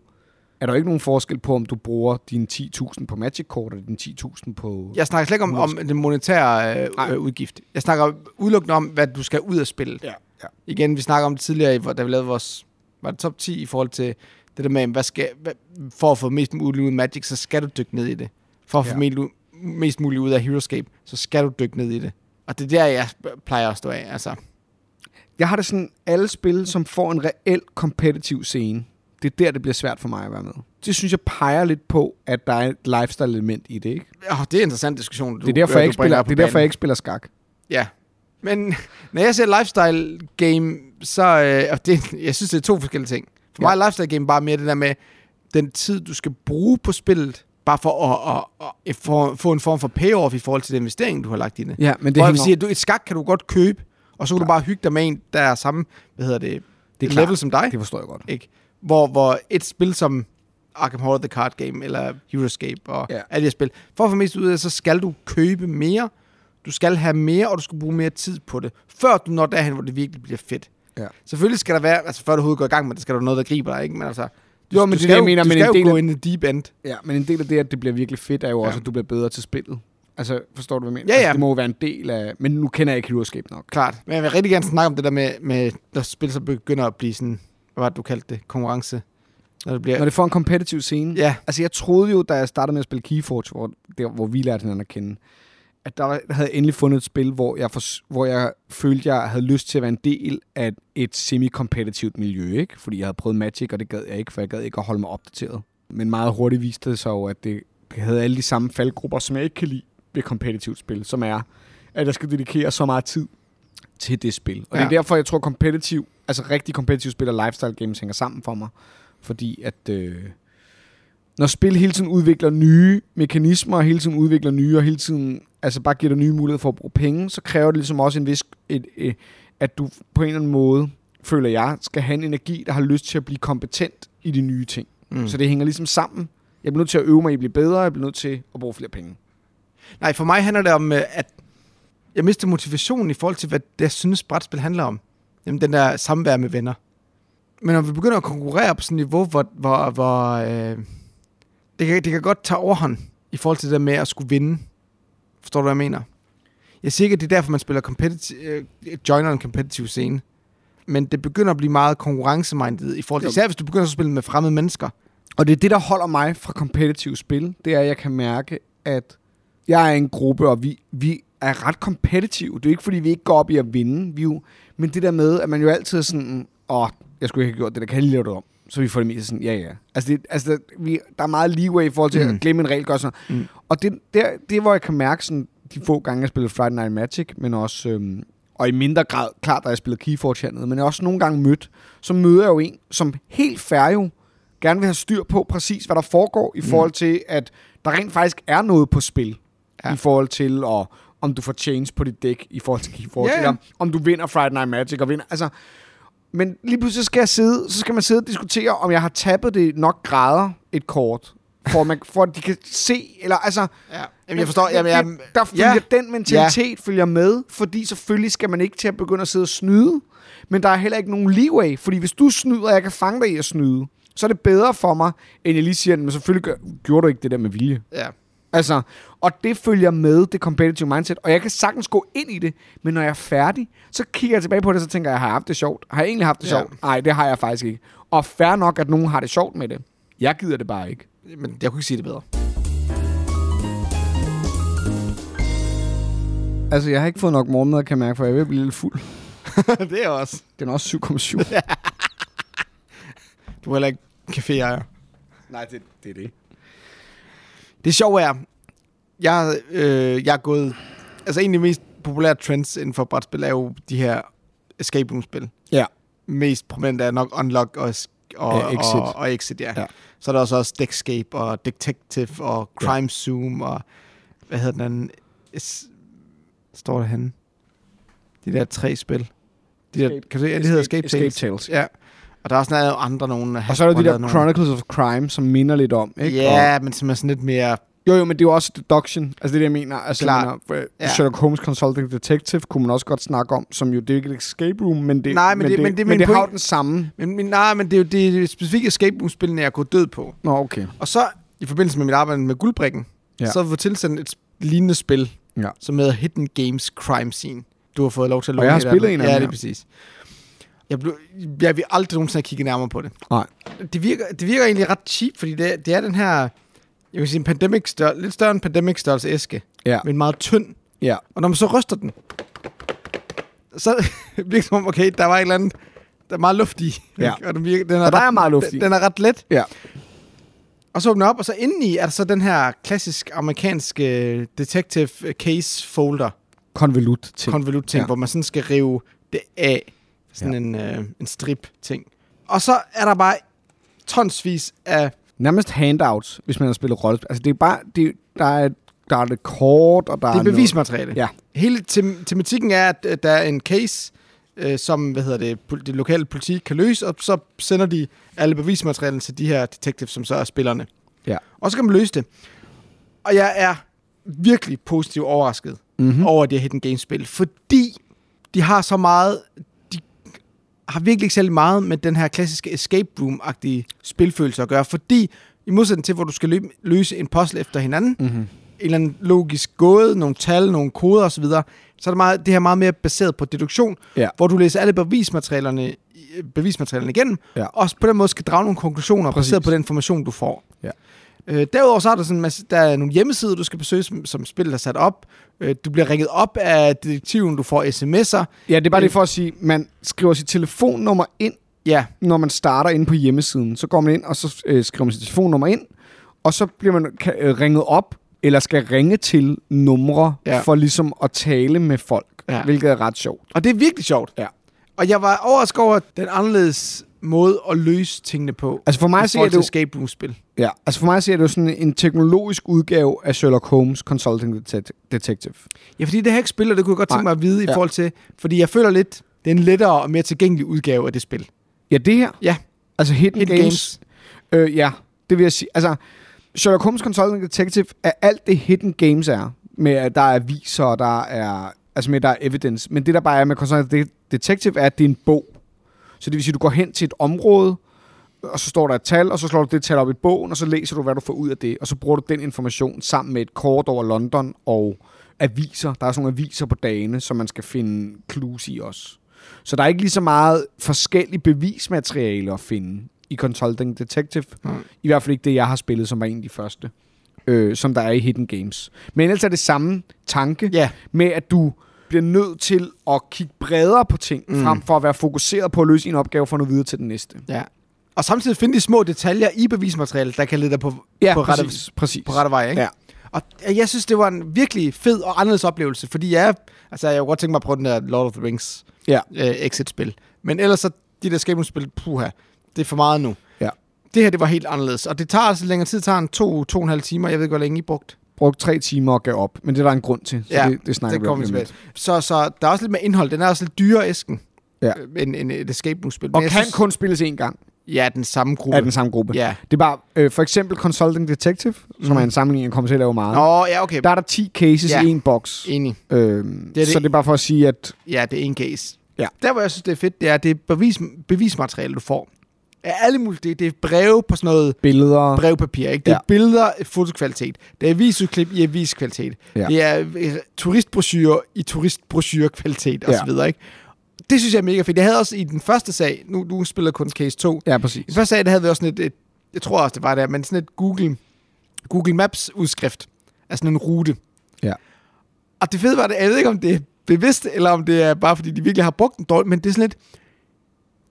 S2: er der jo ikke nogen forskel på, om du bruger dine 10.000 på Magic Kort, eller dine 10.000 på...
S1: Jeg snakker slet ikke om, om den monetære øh,
S2: Nej.
S1: øh, udgift. Jeg snakker udelukkende om, hvad du skal ud og spille.
S2: ja. ja.
S1: igen, vi snakker om det tidligere, hvor- da vi lavede vores var det top 10 i forhold til det der med, hvad skal, hvad, for at få mest muligt ud af Magic, så skal du dykke ned i det. For at få
S2: Ja.
S1: mest, u- mest muligt ud af Heroescape, så skal du dykke ned i det. Og det er der, jeg plejer at stå af. Altså,
S2: Jeg har det sådan, alle spil, som får en reel kompetitiv scene, det er der, det bliver svært for mig at være med. Det synes jeg peger lidt på, at der er et lifestyle-element i det, ikke?
S1: åh, det er en interessant diskussion, du,
S2: det er derfor,
S1: øh,
S2: jeg
S1: du
S2: ikke
S1: bringer
S2: spiller,
S1: op
S2: det
S1: på
S2: er derfor,
S1: banen.
S2: jeg ikke spiller skak.
S1: Ja. <laughs> Men når jeg ser lifestyle game, så øh, og det, jeg synes, det er to forskellige ting. For mig er lifestyle game bare mere det der med, den tid, du skal bruge på spillet, bare for at, at, at, at få- få en form for payoff i forhold til den investering, du har lagt i det.
S2: Ja, men det
S1: Det Hvor jeg vil
S2: hænger-
S1: sige, at du, et skak kan du godt købe, og så kan du bare hygge dig med en, der er samme, hvad hedder det,
S2: Det
S1: det
S2: er
S1: er
S2: klart.
S1: level som dig.
S2: Det forstår jeg godt.
S1: Ikke? Hvor, hvor et spil som Arkham Horror The Card Game, eller Euroscape, og
S2: Ja.
S1: ja. alle de her spil, for at få mest ud af det, så skal du købe mere, du skal have mere, og du skal bruge mere tid på det, før du når derhen, hvor det virkelig bliver fedt.
S2: Ja.
S1: Selvfølgelig skal der være, altså før du overhovedet går i gang med det, skal der være noget, der griber dig, ikke? Men altså,
S2: Jo, men det er
S1: du
S2: det,
S1: skal
S2: jeg
S1: jo,
S2: mener,
S1: du
S2: men en
S1: skal
S2: del
S1: jo
S2: af-
S1: gå ind i deep end.
S2: Ja, men en del af det, at det bliver virkelig fedt, er jo ja. også,
S1: Ja.
S2: at du bliver bedre til spillet. Altså, forstår du, hvad jeg mener?
S1: Ja,
S2: Altså,
S1: ja.
S2: det må jo være en del af... Men nu kender jeg ikke Heroescape nok.
S1: Klart. Men jeg vil rigtig gerne snakke om det der med, med når spil så begynder at blive sådan, hvad var det, du kaldte det? Konkurrence. Når det bliver...
S2: Når det får en kompetitiv scene...
S1: Ja,
S2: Altså, jeg troede jo, da jeg startede med at spille Keyforge, hvor, der, hvor vi lærte hinanden at kende, at der var- der havde jeg endelig fundet et spil, hvor jeg, fors- hvor jeg følte, jeg havde lyst til at være en del af et semi-kompetitivt miljø, ikke? Fordi jeg havde prøvet Magic, og det gad jeg ikke, for jeg gad ikke at holde mig opdateret. Men meget hurtigt viste det sig jo, at det det havde alle de samme faldgrupper, som jeg ikke kan lide ved kompetitivt spil, som er, at jeg skal dedikere så meget tid til det spil. Og ja. det er
S1: Ja.
S2: derfor, jeg tror, kompetitiv, altså rigtig kompetitiv spil og lifestyle games hænger sammen for mig. Fordi at... Øh, når spil hele tiden udvikler nye mekanismer, og hele tiden udvikler nye, og hele tiden altså bare giver dig nye muligheder for at bruge penge, så kræver det ligesom også en vis, et, et, at du på en eller anden måde, føler jeg, skal have en energi, der har lyst til at blive kompetent i de nye ting. Mm.
S1: Mm.
S2: Så det hænger ligesom sammen. Jeg bliver nødt til at øve mig, jeg bliver bedre, jeg bliver nødt til at bruge flere penge.
S1: nej, for mig handler det om, øh, at jeg mister motivationen i forhold til, hvad det, jeg synes, brætspil handler om. Jamen, den der samvær med venner. Men når vi begynder at konkurrere på sådan et niveau, hvor, hvor, hvor øh, det, kan, det kan godt tage overhånd i forhold til det der med at skulle vinde. Forstår du, hvad jeg mener? Jeg siger ikke, at det er derfor, man spiller competitive, øh, joiner en competitive scene. Men det begynder at blive meget konkurrencemindet i forhold til,
S2: Jo.
S1: især hvis du begynder at spille med fremmede mennesker.
S2: Og det er det, der holder mig fra kompetitive spil, det er, at jeg kan mærke, at jeg er en gruppe, og vi, vi er ret kompetitive. Det er jo ikke, fordi vi ikke går op i at vinde. Vi er jo, men det der med, at man jo altid er sådan, åh, jeg skulle ikke have gjort det, der kan jeg lige lave det om. Så vi får det mest sådan, ja, ja. Altså, det, altså der, vi, der er meget leeway i forhold til mm.
S1: Mm.
S2: at glemme en regel, gør sådan mm.
S1: Mm.
S2: Og det, der, det, er, hvor jeg kan mærke sådan, de få gange, jeg spillede Friday Night Magic, men også, øhm, og i mindre grad, klart, da jeg spillede Keyforge hernede, men jeg har også nogle gange mødt, så møder jeg jo en, som helt færre jo, gerne vil have styr på præcis, hvad der foregår, i forhold til, at der rent faktisk er noget på spil, ja.
S1: Ja.
S2: i forhold til, og, om du får change på dit dæk, i forhold til Keyforge,
S1: Ja,
S2: yeah.
S1: ja.
S2: eller om- om du vinder Friday Night Magic, og vinder, altså, men lige pludselig skal jeg sidde, så skal man sidde og diskutere, om jeg har tappet det nok grader et kort, for, at man, for at de kan se, eller altså...
S1: Ja. Jamen, jeg forstår. Jamen, jeg,
S2: det, der følger, Den mentalitet ja. følger med, fordi selvfølgelig skal man ikke til at begynde at sidde og snyde, men der er heller ikke nogen leeway, fordi hvis du snyder, og jeg kan fange dig i at snyde, så er det bedre for mig, end jeg lige siger, men selvfølgelig gør, gjorde du ikke det der med vilje.
S1: ja.
S2: Altså, og det følger med det competitive mindset, og jeg kan sagtens gå ind i det, men når jeg er færdig, så kigger jeg tilbage på det, så tænker jeg, har jeg haft det sjovt? Har jeg egentlig haft det
S1: Ja.
S2: sjovt? Nej, det har jeg faktisk ikke. Og fair nok, at nogen har det sjovt med det. Jeg gider det bare ikke.
S1: Men jeg kunne ikke sige det bedre.
S2: Altså, jeg har ikke fået nok morgenmad, kan jeg mærke, for jeg er ved at blive lidt fuld.
S1: <laughs> det er også.
S2: Den er også 7,7.
S1: Du er heller ikke caféejer.
S2: <laughs> Nej, det, det er det.
S1: Det sjove er, jeg, øh, jeg er gået... Altså en af de mest populære trends inden for brætspil er jo de her escape room-spil.
S2: Ja.
S1: Mest prominent er nok Unlock og, es- og,
S2: Ja, Exit.
S1: og, og Exit, ja.
S2: Ja.
S1: ja. Så er der også, også Deckscape og Detective og Crime ja. Zoom og... Hvad hedder den anden? Es- står der henne? De der tre spil. De der,
S2: Escape-
S1: kan du se? Ja, det hedder Escape,
S2: Escape
S1: Tales.
S2: Tales.
S1: Ja. Og der er også sådan noget andre nogen.
S2: Og så er der de
S1: Hasbro
S2: der
S1: har lavet nogle.
S2: Chronicles of Crime, som minder lidt om, ikke?
S1: Ja, men som er sådan lidt mere...
S2: Og, jo, jo, men det er jo også deduction. Altså det, er det, jeg mener. Altså,
S1: Klart.
S2: Jeg mener, øh,
S1: Ja.
S2: Sherlock Holmes Consulting Detective kunne man også godt snakke om, som jo, det er ikke et escape room, men det,
S1: Nej, men det- men det er
S2: men
S1: min
S2: det har jo
S1: point.
S2: den samme.
S1: Men, men nej, men det er jo det, det specifikke escape room-spillene, jeg er gået død på.
S2: Nå, okay.
S1: Og så, i forbindelse med mit arbejde med guldbrikken,
S2: Ja.
S1: ja. så har vi fået tilsendt et lignende spil,
S2: Ja.
S1: som hedder Hidden Games Crime Scene. Du har fået lov til at
S2: Og jeg har
S1: et af
S2: spillet
S1: dem.
S2: en af
S1: Ja,
S2: dem,
S1: det er
S2: ja.
S1: præcis. Jeg, blev, jeg vil aldrig nogensinde have kigget nærmere på det.
S2: Nej.
S1: Det virker, det virker egentlig ret cheap, fordi det, det er den her, jeg vil sige, en pandemic størrelse, lidt større end pandemic størrelse æske,
S2: Ja.
S1: men meget tynd.
S2: Ja.
S1: Og når man så ryster den, så <laughs> virker det som om, okay, der var et eller andet, der er meget luft i.
S2: Ja.
S1: ikke? <laughs> Og den, virker, den er
S2: Og der
S1: ret-
S2: er meget luft i.
S1: Den, den er ret let.
S2: Ja.
S1: Og så åbner jeg op, og så indeni er der så den her klassisk amerikanske øh, detective øh, case folder,
S2: Konvolut til.
S1: konvolut ting,
S2: Ja.
S1: ja. hvor man sådan skal rive det af. Sådan
S2: Ja.
S1: ja. en, øh, en strip ting. Og så er der bare tonsvis af...
S2: Nærmest handouts, hvis man har spillet rollespil. Altså, det er bare... Det, der, er, der er det kort, og der
S1: Det er
S2: noget-
S1: bevismateriale.
S2: Ja.
S1: Hele tem- tematikken er, at øh, der er en case, øh, som hvad hedder det, pol- det lokale politi kan løse, og så sender de alle bevismaterialen til de her detectives, som så er spillerne.
S2: Ja.
S1: Og så kan man løse det. Og jeg er virkelig positivt overrasket
S2: Mm-hmm.
S1: mm. over det her Hidden Games-spil, fordi de har så meget... De har virkelig ikke særlig meget med den her klassiske escape room-agtige spilfølelse at gøre, fordi i modsætning til, hvor du skal løbe, løse en puzzle efter hinanden,
S2: Mm-hmm.
S1: en eller anden logisk gåde, nogle tal, nogle koder osv., så er det, meget, det her meget mere baseret på deduktion,
S2: Ja.
S1: hvor du læser alle bevismaterialerne, bevismaterialerne igennem,
S2: Ja.
S1: og på den måde skal drage nogle konklusioner Præcis.
S2: Præcis.
S1: baseret på den information, du får.
S2: Ja.
S1: Øh, derudover så er der, sådan en masse, der er nogle hjemmesider, du skal besøge, som, som spillet er sat op. Øh, du bliver ringet op af detektiven, du får sms'er.
S2: Ja, det er bare det for at sige, man skriver sit telefonnummer ind,
S1: Ja,
S2: når man starter inde på hjemmesiden. Så går man ind, og så øh, skriver man sit telefonnummer ind, og så bliver man ka- øh, ringet op, eller skal ringe til numre,
S1: Ja.
S2: ja. for ligesom at tale med folk,
S1: Ja.
S2: ja. hvilket er ret sjovt.
S1: og det er virkelig sjovt.
S2: Ja.
S1: Og jeg var overrasket over den anderledes måde at løse tingene på.
S2: Altså for mig at
S1: i
S2: se, er
S1: forhold
S2: det
S1: til
S2: jo,
S1: escape room-spil.
S2: ja, altså for mig at se, er det jo sådan en teknologisk udgave af Sherlock Holmes Consulting Det- Detective.
S1: Ja, fordi det her ikke spiller, det kunne jeg godt tænke
S2: Nej.
S1: mig at vide i
S2: Ja.
S1: forhold til, fordi jeg føler lidt, det er en lettere og mere tilgængelig udgave af det spil.
S2: Ja, det her.
S1: Ja.
S2: Altså Hidden,
S1: Hidden
S2: Hidden Games. Games. Øh, ja, det vil jeg sige. Altså, Sherlock Holmes Consulting Detective er alt det Hidden Games er. Med at der er viser, og der er, altså med at der er evidence. Men det der bare er med Consulting Det- Detective er, at det er en bog. Så det vil sige, at du går hen til et område, og så står der et tal, og så slår du det tal op i bogen, og så læser du, hvad du får ud af det. Og så bruger du den information sammen med et kort over London og aviser. Der er sådan nogle aviser på dagene, som man skal finde clues i også. Så der er ikke lige så meget forskellige bevismateriale at finde i Consulting Detective.
S1: Nej.
S2: Nej. I hvert fald ikke det, jeg har spillet, som var en af de første, øh, som der er i Hidden Games. Men ellers er det samme tanke
S1: Ja,
S2: med, at du bliver nødt til at kigge bredere på ting,
S1: Mm.
S2: mm. frem for at være fokuseret på at løse en opgave for at nå videre til den næste.
S1: ja. Og samtidig finde de små detaljer i bevismaterialet, der kan lede dig på, på, rette,
S2: præcis. præcis.
S1: på rette vej. Ikke?
S2: Ja.
S1: Og øh, jeg synes, det var en virkelig fed og anderledes oplevelse, fordi jeg, altså, jeg kunne godt tænke mig at prøve den der Lord of the Rings
S2: Ja.
S1: øh, exit-spil. Men ellers så de der escape room-spil, puha, det er for meget nu.
S2: Ja.
S1: Det her, det var helt anderledes. Og det tager altså længere tid, det tager en to, to og en halv timer. Jeg ved ikke, hvor længe I brugte.
S2: Brugte tre timer og gav op, men det er der en grund til, så
S1: Ja,
S2: ja, det, det snakker
S1: det
S2: vi om
S1: kommer
S2: lige
S1: vi
S2: om
S1: tilbage.
S2: lidt.
S1: Så, så der er også lidt mere indhold. Den er også lidt dyrere æsken.
S2: Ja.
S1: øh, End, end et escape room-spil. Men
S2: Og
S1: jeg
S2: kan
S1: synes-
S2: synes... kun spilles én gang
S1: Ja, den samme gruppe.
S2: af den samme gruppe.
S1: Ja.
S2: Det er bare, øh, for eksempel Consulting Detective, som
S1: Mhm.
S2: er en sammenligning, jeg kommer til at lave meget.
S1: Nå, ja, okay.
S2: Der er der 10 cases
S1: Ja.
S2: ja. i en boks.
S1: Enig.
S2: Øhm,
S1: Det er det-
S2: Så det er bare for at sige, at
S1: Ja, det er en case.
S2: Ja.
S1: Der, hvor jeg synes, det er fedt, det er, det er bevis, bevismateriale, du får. Af alle mulige, det, det er breve på sådan noget
S2: billeder...
S1: brevpapir, ikke? Det er
S2: Ja.
S1: billeder i fotokvalitet. Det er videoklip i aviskvalitet.
S2: Ja.
S1: Det er øh, turistbrosyrer i turistbrosyrekvalitet
S2: Ja.
S1: osv., ikke? Det synes jeg er mega fedt. Jeg havde også i den første sag, nu, nu spiller jeg kun case 2,
S2: Ja, præcis.
S1: I første sag, der havde vi også sådan et, et, jeg tror også, det var der, men sådan et Google, Google Maps udskrift af sådan en rute.
S2: Ja.
S1: Og det fede var det, jeg ved ikke, om det er bevidst, eller om det er bare, fordi de virkelig har brugt den dårligt, men det er sådan lidt,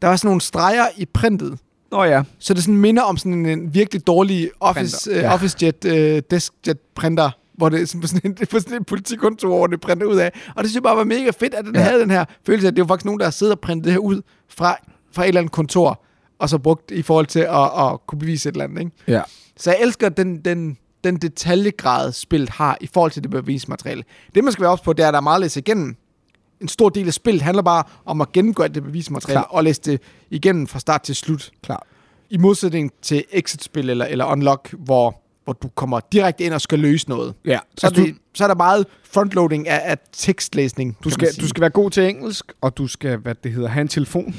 S1: der var sådan nogle streger i printet,
S2: Nå ja.
S1: så det sådan minder om sådan en virkelig dårlig office,
S2: Printer,
S1: øh,
S2: ja.
S1: office jet, øh, deskjet printer, hvor det er sådan på sådan en, <laughs> på sådan en politikontor, hvor det printer ud af. Og det synes jeg bare var mega fedt, at den ja.
S2: Ja.
S1: havde den her følelse af, at det var faktisk nogen, der har siddet og printet det her ud fra, fra et eller andet kontor, og så brugt i forhold til at, at kunne bevise et eller andet. Ikke?
S2: Ja.
S1: Så jeg elsker den, den, den detaljegrad, spillet har i forhold til det bevismateriale. Det, man skal være ops på, det er, at der er meget at læse igennem. En stor del af spillet handler bare om at gennemgå alt det bevismateriale
S2: Klar.
S1: og læse det igennem fra start til slut.
S2: Klar.
S1: I modsætning til exit-spil eller, eller unlock, hvor, hvor du kommer direkte ind og skal løse noget.
S2: Ja,
S1: Så, altså,
S2: altså,
S1: det, du, så er der meget frontloading af, af tekstlæsning.
S2: Du skal, du skal være god til engelsk, og du skal, hvad det hedder, have en telefon.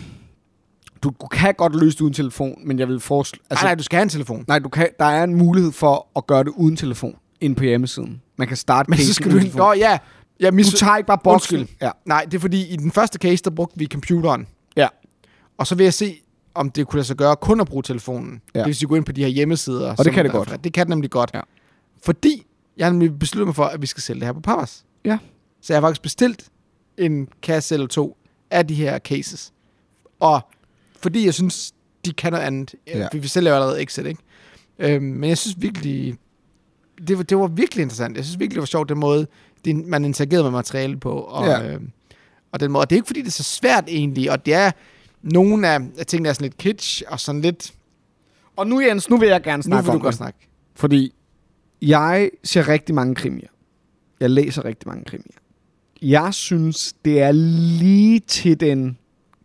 S2: Du kan godt løse det uden telefon, men jeg vil foreslå...
S1: altså, nej, nej, du skal have en telefon.
S2: nej du kan, der er en mulighed for at gøre det uden telefon inde på hjemmesiden. Man kan starte
S1: Men så
S2: casen
S1: skal du
S2: uden
S1: ikke...
S2: telefon.
S1: Nå, ja. Jeg mis...
S2: Du tager ikke bare boksen.
S1: Undskyld.
S2: Ja.
S1: Nej, det er fordi, i den første case, der brugte vi computeren.
S2: ja.
S1: Og så vil jeg se, om det kunne lade sig gøre kun at bruge telefonen. Ja.
S2: Ja.
S1: Det vil sige, gå ind på de her hjemmesider.
S2: det
S1: som
S2: kan det
S1: der er
S2: godt.
S1: fra- Det kan det nemlig godt.
S2: Ja.
S1: Fordi jeg har nemlig besluttet mig for, at vi skal sælge det her på Papas.
S2: Ja.
S1: Så jeg har faktisk bestilt en kasse eller to af de her cases. Og fordi jeg synes, de kan noget andet. Ja.
S2: Ja.
S1: Vi sælger jo allerede Exit, ikke? Øhm, men jeg synes virkelig, det var, det var virkelig interessant. Jeg synes virkelig, det var sjovt, den måde, det, man interagerede med materiale på. Og,
S2: Ja.
S1: øhm, og den måde. Og det er ikke, fordi det er så svært egentlig, og det er, nogle af, af tingene er sådan lidt kitsch, og sådan lidt...
S2: Og nu, Jens, nu vil jeg gerne
S1: Nu
S2: snakke
S1: vil du
S2: om
S1: godt
S2: det.
S1: snakke.
S2: Fordi jeg ser rigtig mange krimier. Jeg læser rigtig mange krimier. Jeg synes, det er lige til den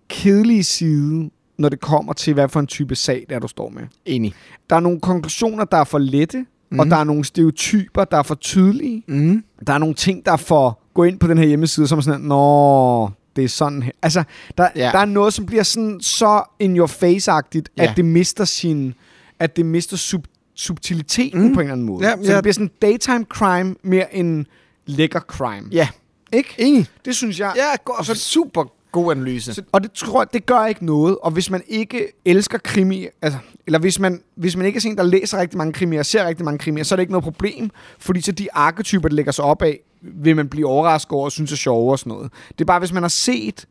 S2: kedelige side, når det kommer til, hvad for en type sag, der du står med.
S1: Enig.
S2: Der er nogle konklusioner, der er for lette, mm. og
S1: Mhm.
S2: der er nogle stereotyper, der er for tydelige.
S1: Mm.
S2: Der er nogle ting, der er for... Gå ind på den her hjemmeside, som er sådan, at, Nå, det er sådan her. Altså, der,
S1: Ja.
S2: ja. der er noget, som bliver sådan så in your face-agtigt, ja.
S1: Ja.
S2: at det mister sin... At det mister sub, subtiliteten
S1: Mm.
S2: mm. på en eller anden måde.
S1: Ja,
S2: Ja, så
S1: ja.
S2: det bliver sådan daytime crime mere end lækker crime.
S1: Ja.
S2: Ikke?
S1: Enig.
S2: Det synes jeg...
S1: Ja, go- og så super god analyse.
S2: Så, og det tror jeg, det gør ikke noget. Og hvis man ikke elsker krimi, altså, eller hvis man, hvis man ikke er sådan en, der læser rigtig mange krimier, og ser rigtig mange krimier, så er det ikke noget problem, fordi så de arketyper, der lægger sig op af, vil man blive overrasket over og synes er sjove og sådan noget. Det er bare, hvis man har set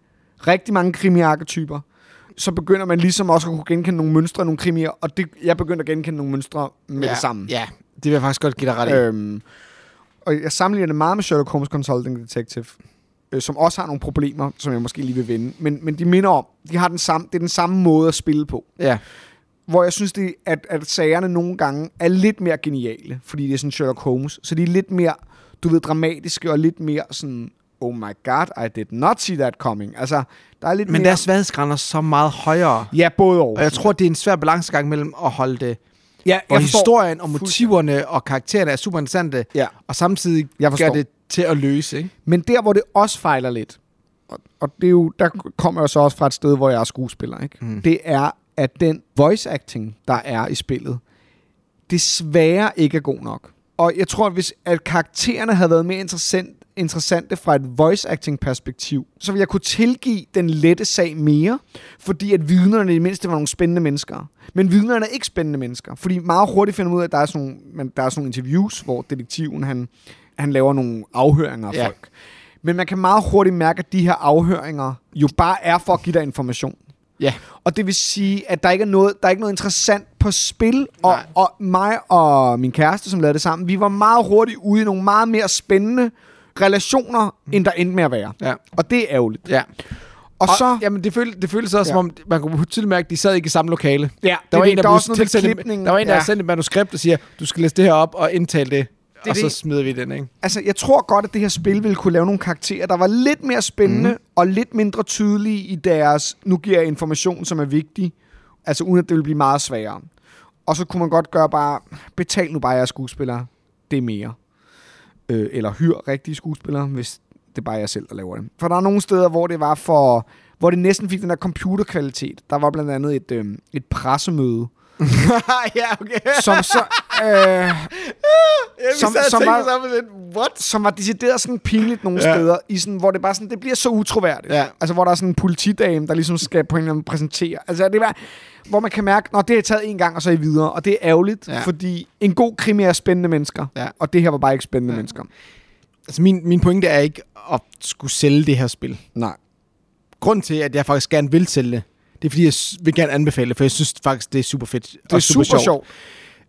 S2: rigtig mange krimiarketyper, så begynder man ligesom også at kunne genkende nogle mønstre, nogle krimier, og det, jeg begyndte at genkende nogle mønstre med
S1: ja.
S2: det samme.
S1: Ja, det Øh. vil jeg faktisk godt give dig ret i.
S2: Øhm, og jeg sammenligner det meget med Sherlock Holmes Consulting Detective, øh, som også har nogle problemer, som jeg måske lige vil vende. Men, men de minder om, de har den samme, det er den samme måde at spille på.
S1: Ja.
S2: Hvor jeg synes, det, at, at sagerne nogle gange er lidt mere geniale, fordi det er sådan Sherlock Holmes. Så de er lidt mere, du ved, dramatiske og lidt mere sådan, oh my god, I did not see that coming. Altså, der er lidt
S1: Men
S2: mere...
S1: deres svaghedsgrænder er så meget højere.
S2: Ja, både og.
S1: Og jeg tror, det er en svær balancegang mellem at holde det.
S2: ja,
S1: Og
S2: forstår-
S1: historien og motiverne og karaktererne er super interessante.
S2: Ja.
S1: Og samtidig
S2: Jeg forstår.
S1: gør det til at løse, ikke?
S2: Men der, hvor det også fejler lidt, og, og det er jo, der kommer jeg jo så også fra et sted, hvor jeg er skuespiller, ikke? Mm. det er, at den voice acting, der er i spillet, desværre ikke er god nok. Og jeg tror, at hvis at karaktererne havde været mere interessant, interessante fra et voice acting perspektiv, så ville jeg kunne tilgive den lette sag mere, fordi at vidnerne i det mindste var nogle spændende mennesker. Men vidnerne er ikke spændende mennesker, fordi meget hurtigt finder man ud af, at der er sådan nogle, men der er sådan nogle interviews, hvor detektiven han, han laver nogle afhøringer af
S1: Ja.
S2: ja. folk. Men man kan meget hurtigt mærke, at de her afhøringer jo bare er for at give dig information.
S1: Ja.
S2: Og det vil sige, at der ikke er noget, der er ikke noget interessant på spil. Og,
S1: Nej.
S2: og mig og min kæreste, som lavede det sammen, vi var meget hurtigt ude i nogle meget mere spændende relationer, end der endte med at være.
S1: Ja.
S2: Og det er ærgerligt.
S1: Ja.
S2: Og, og så...
S1: Jamen, det, følte, det føltes også, ja.
S2: Ja.
S1: som om man kunne tydeligt mærke, at de sad ikke i samme lokale.
S2: Ja,
S1: Der var,
S2: det,
S1: en,
S2: der
S1: der,
S2: er
S1: blev
S2: også noget med
S1: tilsendt et-
S2: klipningen.
S1: der var en, der
S2: ja.
S1: ja. sendte et manuskript og siger, du skal læse det her op og indtale det, det og
S2: det.
S1: så smider vi den, ikke?
S2: <laughs> altså, jeg tror godt, at det her spil ville kunne lave nogle karakterer, der var lidt mere spændende mm. og lidt mindre tydelige i deres, nu giver jeg information, som er vigtig, altså uden at det ville blive meget sværere. Og så kunne man godt gøre bare, betal nu bare jeres skuespillere, det er mere. Øh, eller hyr rigtige skuespillere, hvis det er bare jer selv, der laver det. For der er nogle steder, hvor det var for, hvor det næsten fik den der computerkvalitet. Der var blandt andet et, øh, et pressemøde,
S1: ja, okay.
S2: som så... Øh,
S1: Jamen,
S2: Som- sad og som tænkte var-
S1: sammen lidt, what?
S2: som var decideret sådan pinligt nogle
S1: Ja.
S2: ja. steder, i sådan, hvor det bare sådan, det bliver så utroværdigt.
S1: Ja.
S2: Altså, hvor der er sådan en politidame, der ligesom skal på en eller anden præsentere. Altså, det er bare, hvor man kan mærke, når det er taget en gang, og så er I videre. Og det er ærgerligt,
S1: Ja.
S2: ja. fordi en god krimi er spændende mennesker.
S1: Ja.
S2: Og det her var bare ikke spændende ja. mennesker.
S1: Altså, min, min pointe er ikke at skulle sælge det her spil.
S2: Nej.
S1: Grunden til, at jeg faktisk gerne vil sælge det, det er, fordi jeg s- vil gerne anbefale det, for jeg synes faktisk, det er super fedt.
S2: Det er super, sjovt. sjovt.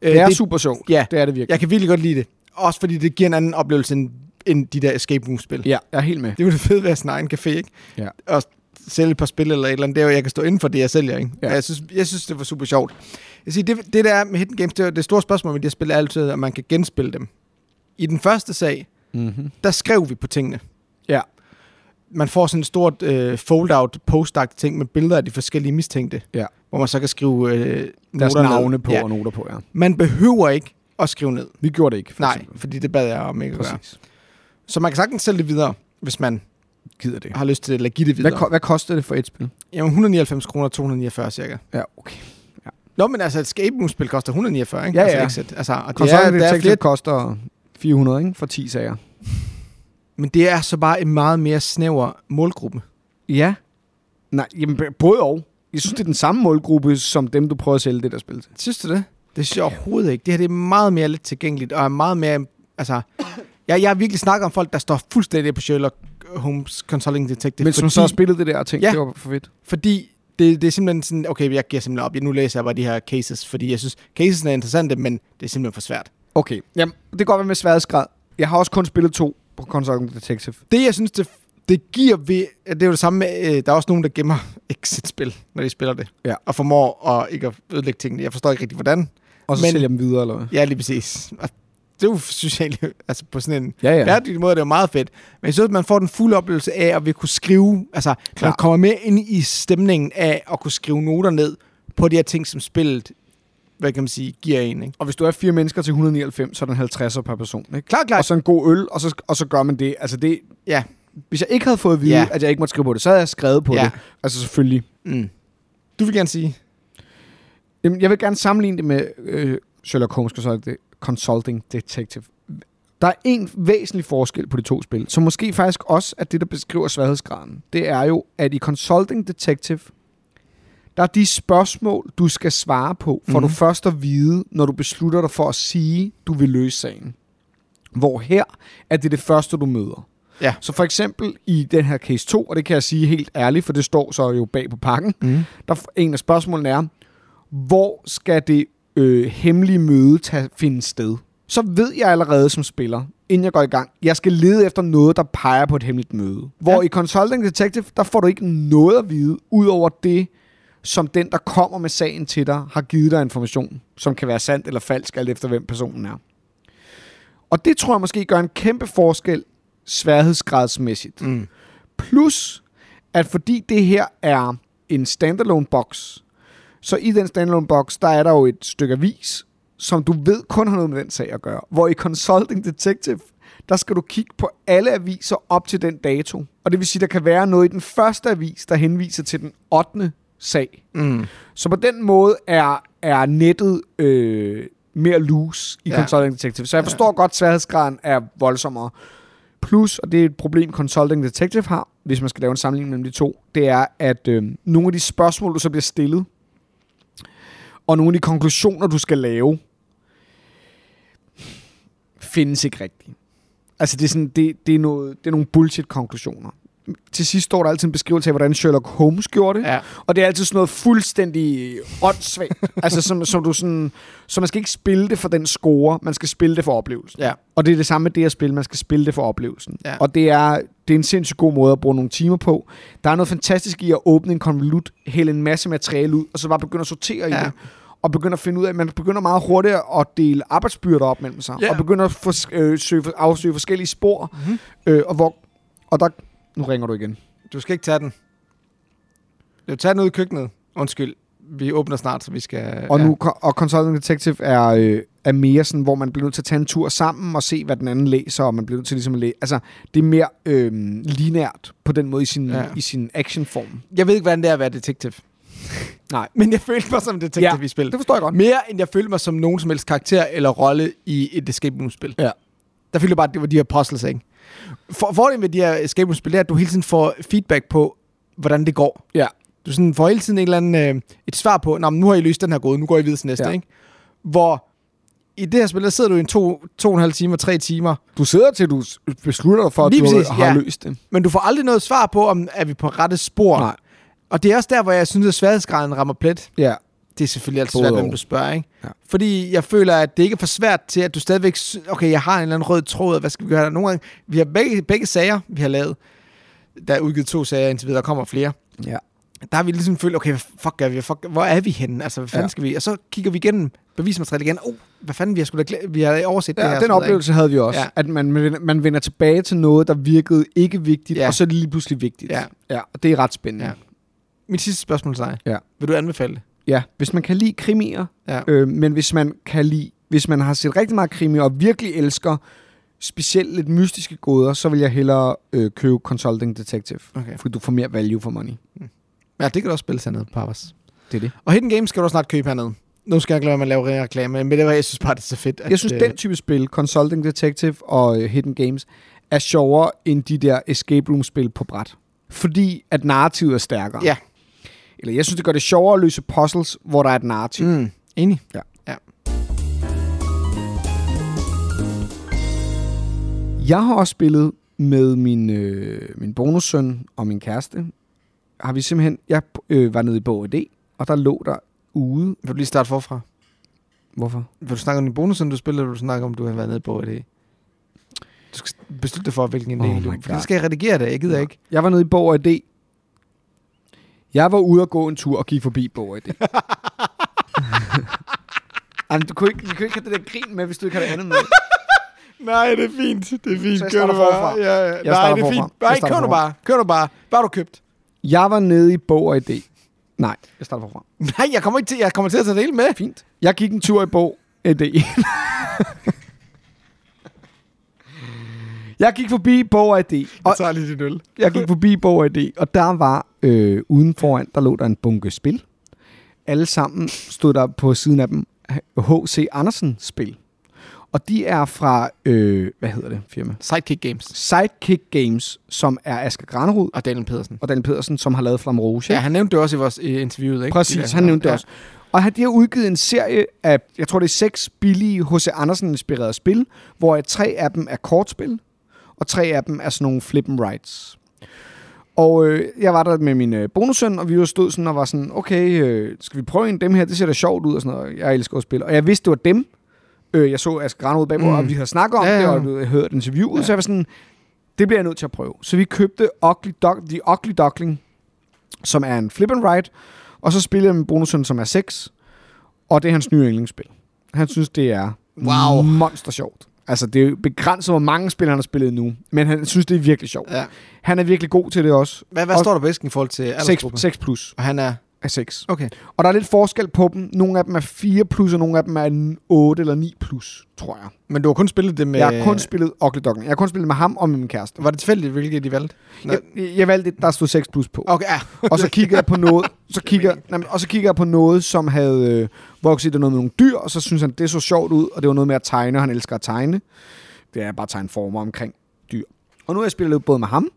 S1: Øh,
S2: Det er super sjovt.
S1: Ja.
S2: Det er det virkelig.
S1: Jeg kan virkelig godt lide det. Også fordi det giver en anden oplevelse end, end de der escape room-spil.
S2: Ja, jeg er helt med.
S1: Det er jo det fede ved at have sin egen café, ikke?
S2: Ja.
S1: Og sælge et par spil eller et eller andet. Det er jo, jeg kan stå inden for det, jeg sælger, ikke?
S2: Ja.
S1: Og Jeg, synes, jeg synes, det var super sjovt. Jeg siger, det, det der er med Hidden Games, det, er jo det store spørgsmål med de her spil er altid, om man kan genspille dem. I den første sag,
S2: Mm-hmm.
S1: der skrev vi på tingene.
S2: Ja.
S1: Man får sådan et stort øh, fold-out, post ting med billeder af de forskellige mistænkte.
S2: Ja.
S1: Hvor man så kan skrive øh,
S2: Deres
S1: noter ned.
S2: navne på
S1: Ja.
S2: og noter på, ja.
S1: Man behøver ikke at skrive ned.
S2: Vi gjorde det ikke. For
S1: Nej,
S2: eksempel.
S1: fordi det bad jeg om ikke at gøre.
S2: Præcis.
S1: Så man kan sagtens sælge det videre, hvis man
S2: Gider det.
S1: har lyst til det, eller give det videre.
S2: Hvad, ko- hvad koster det for et spil?
S1: Jamen 199 kroner, 249 cirka.
S2: Ja, okay.
S1: Nå, men altså, et escape room-spil koster 149, ikke?
S2: Ja,
S1: altså,
S2: ja.
S1: Exit. Altså, og det er,
S2: Konsolerne
S1: det er
S2: det,
S1: flere,
S2: det koster 400, ikke? For 10 sager.
S1: men det er så bare en meget mere snæver målgruppe.
S2: Ja. Nej, jamen, b- både og. Jeg synes, det er den samme målgruppe, som dem, du prøver at sælge det der spil til.
S1: Synes du det? Det synes jeg overhovedet ikke. Det her det er meget mere let tilgængeligt, og er meget mere... Altså, jeg, jeg har virkelig snakket om folk, der står fuldstændig på Sherlock Holmes Consulting Detective.
S2: Det Men som så har spillet det der og tænkt,
S1: Ja.
S2: ja. det var for fedt.
S1: fordi det, det er simpelthen sådan, okay, jeg giver simpelthen op. Nu læser jeg bare de her cases, fordi jeg synes, cases er interessante, men det er simpelthen for svært.
S2: Okay, jamen, det går godt være med sværhedsgrad. Jeg har også kun spillet to på Consulting Detective.
S1: Det, jeg synes, det, det giver ved... at Det er jo det samme med... Øh, der er også nogen, der gemmer <laughs> exit-spil, når de spiller det.
S2: Ja.
S1: Og formår at ikke at ødelægge tingene. Jeg forstår ikke rigtig, hvordan.
S2: Og så
S1: Men-
S2: men, sælger dem videre, eller hvad?
S1: Ja, lige præcis. Og det er jo, synes jeg egentlig, altså på sådan en
S2: Ja, ja.
S1: bæredygtig måde, det er jo meget fedt. Men jeg synes, at man får den fulde oplevelse af at vi kunne skrive, altså Klar. man
S2: Klar.
S1: kommer med ind i stemningen af at kunne skrive noter ned på de her ting, som spillet, hvad kan man sige, giver en, ikke?
S2: Og hvis du er fire mennesker til 199, så er den 50'er per person, ikke?
S1: Klart,
S2: Og
S1: klart.
S2: så en god øl, og så, og så gør man det. Altså det,
S1: Ja.
S2: hvis jeg ikke havde fået at vide,
S1: Ja.
S2: ja. at jeg ikke måtte skrive på det, så havde jeg skrevet på
S1: Ja.
S2: ja. det. Altså selvfølgelig.
S1: Mm. Du vil gerne sige,
S2: Jamen, jeg vil gerne sammenligne det med øh, Sherlock Holmes Consult- Consulting Detective. Der er en væsentlig forskel på de to spil, som måske faktisk også er det, der beskriver sværhedsgraden. Det er jo, at i Consulting Detective, der er de spørgsmål, du skal svare på, får
S1: Mhm.
S2: du først at vide, når du beslutter dig for at sige, du vil løse sagen. Hvor her er det det første, du møder.
S1: Ja.
S2: Så for eksempel i den her case 2, og det kan jeg sige helt ærligt, for det står så jo bag på pakken,
S1: mm.
S2: der f- en af spørgsmålene er, hvor skal det øh, hemmelige møde tage, finde sted? Så ved jeg allerede som spiller, inden jeg går i gang, jeg skal lede efter noget, der peger på et hemmeligt møde. Hvor
S1: Ja.
S2: ja. i Consulting Detective, der får du ikke noget at vide, ud over det, som den, der kommer med sagen til dig, har givet dig information, som kan være sandt eller falsk, alt efter hvem personen er. Og det tror jeg måske gør en kæmpe forskel sværhedsgradsmæssigt.
S1: Mm.
S2: Plus, at fordi det her er en standalone box, så i den standalone box, der er der jo et stykke avis, som du ved kun har noget med den sag at gøre. Hvor i Consulting Detective, der skal du kigge på alle aviser op til den dato. Og det vil sige, der kan være noget i den første avis, der henviser til den 8. sag.
S1: Mm.
S2: Så på den måde er, er nettet øh, mere loose i
S1: Ja.
S2: ja. Consulting Detective. Så jeg forstår ja. godt, at sværhedsgraden er voldsommere. Plus, og det er et problem, Consulting Detective har, hvis man skal lave en sammenligning mellem de to, det er, at øh, nogle af de spørgsmål, du så bliver stillet, og nogle af de konklusioner, du skal lave, findes ikke rigtigt. Altså, det er, sådan, det, det er, noget, det er nogle bullshit-konklusioner. Til sidst står der altid en beskrivelse af, hvordan Sherlock Holmes gjorde det.
S1: Ja.
S2: Og det er altid sådan noget fuldstændig
S1: <laughs>
S2: åndssvagt. altså, som, som du sådan, så man skal ikke spille det for den score, man skal spille det for oplevelsen.
S1: Ja.
S2: Og det er det samme med det at spille, man skal spille det for oplevelsen.
S1: Ja.
S2: Og det er, det er en sindssygt god måde at bruge nogle timer på. Der er noget fantastisk i at åbne en konvolut, hælde en masse materiale ud, og så bare begynde at sortere
S1: Ja.
S2: i det. Og begynde at finde ud af, man begynder meget hurtigt at dele arbejdsbyrder op mellem sig.
S1: Ja.
S2: Og begynder at fors- øh, søge, afsøge forskellige spor.
S1: Mhm.
S2: Mm-hmm. Øh, og, hvor, og der... Nu ringer du igen.
S1: Du skal ikke tage den. Du tager den ud i køkkenet. Undskyld. Vi åbner snart, så vi skal...
S2: Og,
S1: ja.
S2: nu, og Consulting Detective er, øh, er mere sådan, hvor man bliver nødt til at tage en tur sammen og se, hvad den anden læser, og man bliver nødt til ligesom at læse. Altså, det er mere øh, linært på den måde i sin,
S1: Ja.
S2: ja. i sin actionform.
S1: Jeg ved ikke, hvordan det er at være
S2: <laughs>
S1: detektiv.
S2: Nej.
S1: Men jeg følte mig som en detektiv
S2: Ja.
S1: i spillet.
S2: Det forstår jeg godt.
S1: Mere end jeg følte mig som nogen som helst karakter eller rolle i et escape room-spil.
S2: Ja.
S1: Der følte jeg bare, at det var de her puzzles, ikke? For, fordelen ved de her escape room-spil, det er, at du hele tiden får feedback på, hvordan det går.
S2: Ja.
S1: Du sådan får hele tiden en eller anden, øh, et svar på, Nå, men nu har I løst den her gåde, nu går I videre til næste,
S2: Ja.
S1: ikke? Hvor i det her spil, der sidder du i en to, to og en halv timer, tre timer,
S2: Du sidder til, du s- beslutter dig for, at
S1: Lige
S2: du
S1: præcis,
S2: har
S1: ja.
S2: løst det.
S1: men du får aldrig noget svar på, om er vi på rette spor.
S2: Nej.
S1: Og det er også der, hvor jeg synes, at sværhedsgraden rammer plet.
S2: Ja.
S1: Det er selvfølgelig altid
S2: Både
S1: svært, hvem
S2: og.
S1: du spørger, ikke? Ja.
S2: Ja.
S1: Fordi jeg føler, at det ikke er for svært til, at du stadigvæk... sy- Okay, jeg har en eller anden rød tråd, og hvad skal vi gøre der? Nogle gange... Vi har begge, begge sager, vi har lavet. Der er udgivet to sager indtil videre, der kommer flere.
S2: ja.
S1: Der har vi ligesom følt, okay, hvad fuck gør vi? Fuck, hvor er vi henne? Altså, hvad fanden ja.
S2: Ja.
S1: skal vi? Og så kigger vi igennem bevismateriale igen. Oh, hvad fanden, vi har, sgu da glæ- vi har overset det her.
S2: Ja,
S1: og
S2: den
S1: sådan noget,
S2: oplevelse havde vi også.
S1: Ja.
S2: Ja. At man, man vender- man vender tilbage til noget, der virkede ikke vigtigt,
S1: Ja.
S2: ja. og så er det lige pludselig vigtigt.
S1: Ja.
S2: ja og det er ret spændende.
S1: Ja. ikke? Mit sidste spørgsmål til dig.
S2: Ja.
S1: Vil du anbefale det?
S2: Ja, hvis man kan lide krimier,
S1: Ja.
S2: øh, men hvis man kan lide, hvis man har set rigtig meget krimier og virkelig elsker specielt lidt mystiske gåder, så vil jeg hellere øh, købe Consulting Detective,
S1: Okay.
S2: fordi du får mere value for money.
S1: Ja, det kan du også spille sig ned på Papas.
S2: Det er det.
S1: Og Hidden Games skal du også snart købe hernede. Nu skal jeg ikke lade mig lave reklame, men det var, jeg synes bare, det er så fedt. At,
S2: Jeg synes,
S1: øh,
S2: den type spil, Consulting Detective og øh, Hidden Games, er sjovere end de der escape room-spil på bræt. Fordi at narrativet er stærkere.
S1: Ja.
S2: Eller jeg synes, det gør det sjovere at løse puzzles, hvor der er et narrativ. Mm.
S1: Mm, enig.
S2: Ja.
S1: ja.
S2: Jeg har også spillet med min, øh, min bonussøn og min kæreste. Har vi simpelthen... Jeg øh, var nede i Bog D, og der lå der ude...
S1: Vil du lige starte forfra?
S2: Hvorfor?
S1: Vil du snakke om din bonus, som du spillede, eller vil du snakke om, du har været nede på det? Du skal beslutte dig for, hvilken
S2: Oh
S1: idé
S2: my
S1: du... For
S2: God.
S1: det skal jeg redigere det, jeg gider
S2: Ja.
S1: ikke.
S2: Jeg var nede i Borg og D. Jeg var ude og gå en tur og gik forbi Borg og D. <laughs> Jamen, du kunne ikke, vi kunne ikke have det der grin med, hvis du ikke har det andet med.
S1: Nej, det er fint. Det er fint.
S2: Så jeg
S1: Kør
S2: starter
S1: du bare.
S2: forfra.
S1: Ja, ja. Nej,
S2: starter
S1: det er
S2: forfra.
S1: fint.
S2: Jeg
S1: Nej,
S2: starter
S1: kør du
S2: forfra.
S1: bare. Kør du bare. Hvad har du købt? <laughs>
S2: Jeg var nede i Borg og D. Nej, jeg starter forfra.
S1: Nej, jeg kommer, ikke til, jeg kommer til at tage det hele med.
S2: Fint. Jeg gik en tur i Borg og D. E. Jeg gik forbi Borg og D. E. Og
S1: Jeg tager lige din øl.
S2: jeg gik forbi Borg og D, E, og der var øh, uden foran, der lå der en bunke spil. Alle sammen stod der på siden af dem H.C. Andersen spil. Og de er fra, øh, hvad hedder det firma?
S1: Sidekick Games.
S2: Sidekick Games, som er Asger Granerud
S1: Og Daniel Pedersen.
S2: og Dan Pedersen, som har lavet Flam Rouge.
S1: Ja, han nævnte det også i vores øh, interviewet, ikke? De
S2: Præcis,
S1: der-
S2: han nævnte det
S1: ja.
S2: også. Og han- de har udgivet en serie af, jeg tror det er seks billige H.C. Andersen-inspirerede spil, hvor tre af dem er kortspil, og tre af dem er sådan nogle flip and rights. Og øh, jeg var der med min øh, bonussøn, og vi jo stod sådan og var sådan, okay, øh, skal vi prøve en af dem her? Det ser da sjovt ud og sådan noget. Jeg elsker at spille. Og jeg vidste, det var dem. Øh, jeg så Asger Granerud bagbord, mm.
S1: Mm.
S2: og vi havde snakket om
S1: Ja,
S2: ja,
S1: ja.
S2: ja. det, og jeg hørte interviewet, ja. så jeg var sådan, det bliver jeg nødt til at prøve. Så vi købte Ugly Duck, The Ugly Duckling, som er en flip and ride, og så spillede jeg med bonusen, som er 6, og det er hans nye yndlingsspil. Han synes, det er
S1: Wow.
S2: monster sjovt. Altså, det er jo begrænset, hvor mange spil, han har spillet nu, men han synes, det er virkelig sjovt.
S1: Ja.
S2: Han er virkelig god til det også.
S1: Hvad, hvad
S2: Og-
S1: står der på æsken i forhold til
S2: 6,
S1: aldersgruppen?
S2: 6 plus
S1: Og han er...
S2: er 6.
S1: Okay.
S2: Og der er lidt forskel på dem. Nogle af dem er 4 plus, og nogle af dem er 8 eller 9 plus, tror jeg.
S1: Men du har kun spillet det med...
S2: Jeg har kun spillet Ugly Doggen. Jeg har kun spillet med ham og med min kæreste.
S1: Var det tilfældigt, hvilket de valgte? Nå.
S2: Jeg, jeg valgte det, der stod 6 plus på.
S1: Okay, ja.
S2: og så kigger jeg på noget, så kigger, nej, men- og så kigger jeg på noget, som havde øh, vokset der noget med nogle dyr, og så synes han, det så sjovt ud, og det var noget med at tegne, og han elsker at tegne. Det er bare at tegne former omkring dyr. Og nu har jeg spillet lidt både med ham,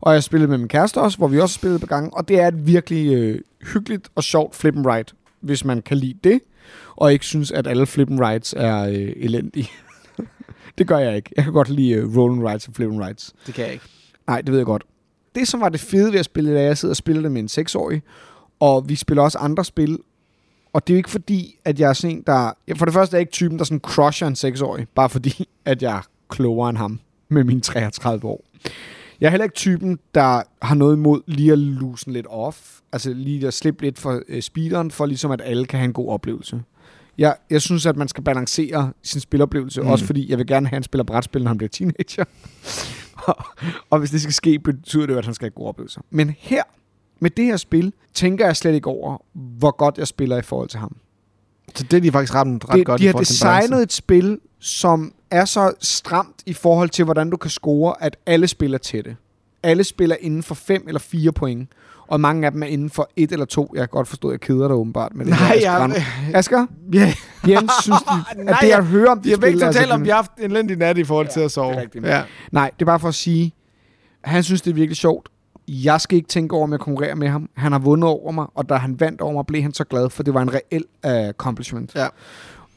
S2: og jeg har spillet med min kæreste også, hvor vi også har spillet på gangen, og det er et virkelig øh, hyggeligt og sjovt flip and ride, hvis man kan lide det, og ikke synes, at alle flip and rides er øh, elendige. <laughs> det gør jeg ikke. Jeg kan godt lide øh, roll and rides og flip and rides.
S1: Det kan jeg ikke.
S2: Nej, det ved jeg godt. Det, som var det fede ved at spille, da jeg sidder og spiller det med en seksårig, og vi spiller også andre spil, og det er jo ikke fordi, at jeg er sådan en, der... For det første er jeg ikke typen, der sådan crusher en seksårig, bare fordi, <laughs> at jeg er klogere end ham med mine 33 år. Jeg er heller ikke typen, der har noget imod lige at loosen lidt off, altså lige at slippe lidt for øh, speederen, for ligesom at alle kan have en god oplevelse. Jeg, jeg synes, at man skal balancere sin spiloplevelse, mm. også fordi jeg vil gerne have, at han spiller brætspil, når han bliver teenager. og, <laughs> og hvis det skal ske, betyder det jo, at han skal have gode oplevelser. Men her, med det her spil, tænker jeg slet ikke over, hvor godt jeg spiller i forhold til ham
S1: Så det er de faktisk ramt ret
S2: det,
S1: godt
S2: de
S1: i
S2: har
S1: forhold til balancen.
S2: designet et spil, som er så stramt i forhold til, hvordan du kan score, at alle spiller tætte. Alle spiller inden for 5 eller 4 point, og mange af dem er inden for 1 eller 2. Jeg kan godt forstå, at jeg keder dig åbenbart. Men
S1: Nej,
S2: jeg...
S1: <laughs> jeg,
S2: Asger,
S1: jeg, <laughs>
S2: Jens synes, de, at
S1: Nej,
S2: det, jeg
S1: jeg-
S2: hører om de
S1: jeg vil ikke
S2: spil, er så
S1: totalt om,
S2: genialt.
S1: vi har haft en lændig nat i forhold til at sove.
S2: det er rigtigt.
S1: Ja.
S2: Nej, det er bare for at sige, at han synes, det er virkelig sjovt. Jeg skal ikke tænke over, om jeg konkurrerer med ham. Han har vundet over mig, og da han vandt over mig, blev han så glad, for det var en reel uh, accomplishment.
S1: Ja.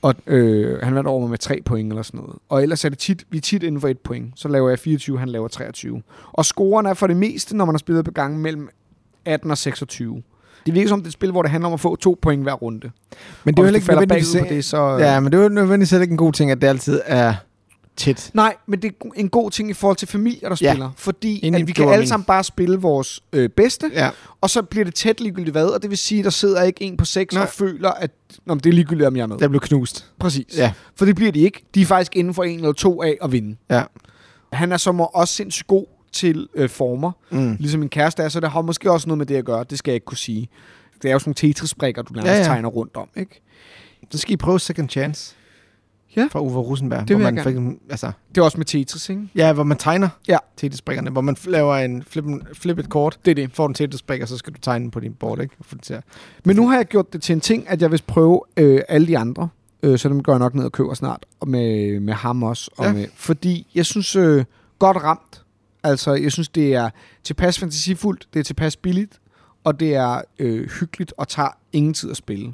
S2: Og øh, han vandt over mig med 3 point eller sådan noget. Og ellers er det tit, vi er tit inden for et point. Så laver jeg 24, han laver 23. Og scoren er for det meste, når man har spillet på gangen mellem 18 og 26. Det virker som det er et spil, hvor det handler om at få to point hver runde.
S1: Men
S2: Men
S1: det er
S2: det
S1: jo heller
S2: ikke
S1: ikke
S2: falder
S1: nødvendigvis...
S2: bagud på det, så... øh,
S1: Ja, men det er jo nødvendigvis heller ikke en god ting, at det altid er tæt.
S2: Nej, men det er go- en god ting i forhold til familier, der
S1: Ja.
S2: spiller. Fordi
S1: Enig,
S2: at vi
S1: det
S2: kan
S1: var
S2: alle
S1: min-
S2: sammen bare spille vores øh, bedste,
S1: Ja.
S2: og så bliver det tæt ligegyldigt hvad, og det vil sige, der sidder ikke en på seks
S1: Nej.
S2: og føler, at Nå, men det er ligegyldigt, om jeg er med.
S1: Der blev knust.
S2: Præcis.
S1: Ja.
S2: For det bliver de ikke. De er faktisk inden for en eller to af at vinde.
S1: Ja.
S2: Han er som også sindssygt god til øh, former,
S1: Mm.
S2: ligesom min kæreste er, så det har måske også noget med det at gøre. Det skal jeg ikke kunne sige. Det er jo sådan nogle tetrisbrikker, du nærmest ja,
S1: Ja,
S2: ja.
S1: ja.
S2: tegner rundt om, ikke?
S1: Så skal I prøve Second Chance.
S2: Ja.
S1: Fra Uwe Rosenberg.
S2: vil
S1: hvor
S2: jeg
S1: man fik, altså,
S2: Det er også med Tetris, ikke?
S1: ja, hvor man tegner
S2: Ja.
S1: tetrisbrikkerne. Hvor man f- laver en flip, flip et kort,
S2: Det er det.
S1: får en tetrisbrik, og så skal du tegne den på din board, ikke? Og få det til at-
S2: Men nu har jeg gjort det til en ting, at jeg vil prøve øh, alle de andre. Øh, så dem går jeg nok ned og køber snart. Og med, med ham også. Og
S1: Ja.
S2: ja. med, fordi jeg synes, øh, godt ramt. Altså, jeg synes, det er tilpas fantasifuldt, det er tilpas billigt, og det er øh, hyggeligt og tager ingen tid at spille.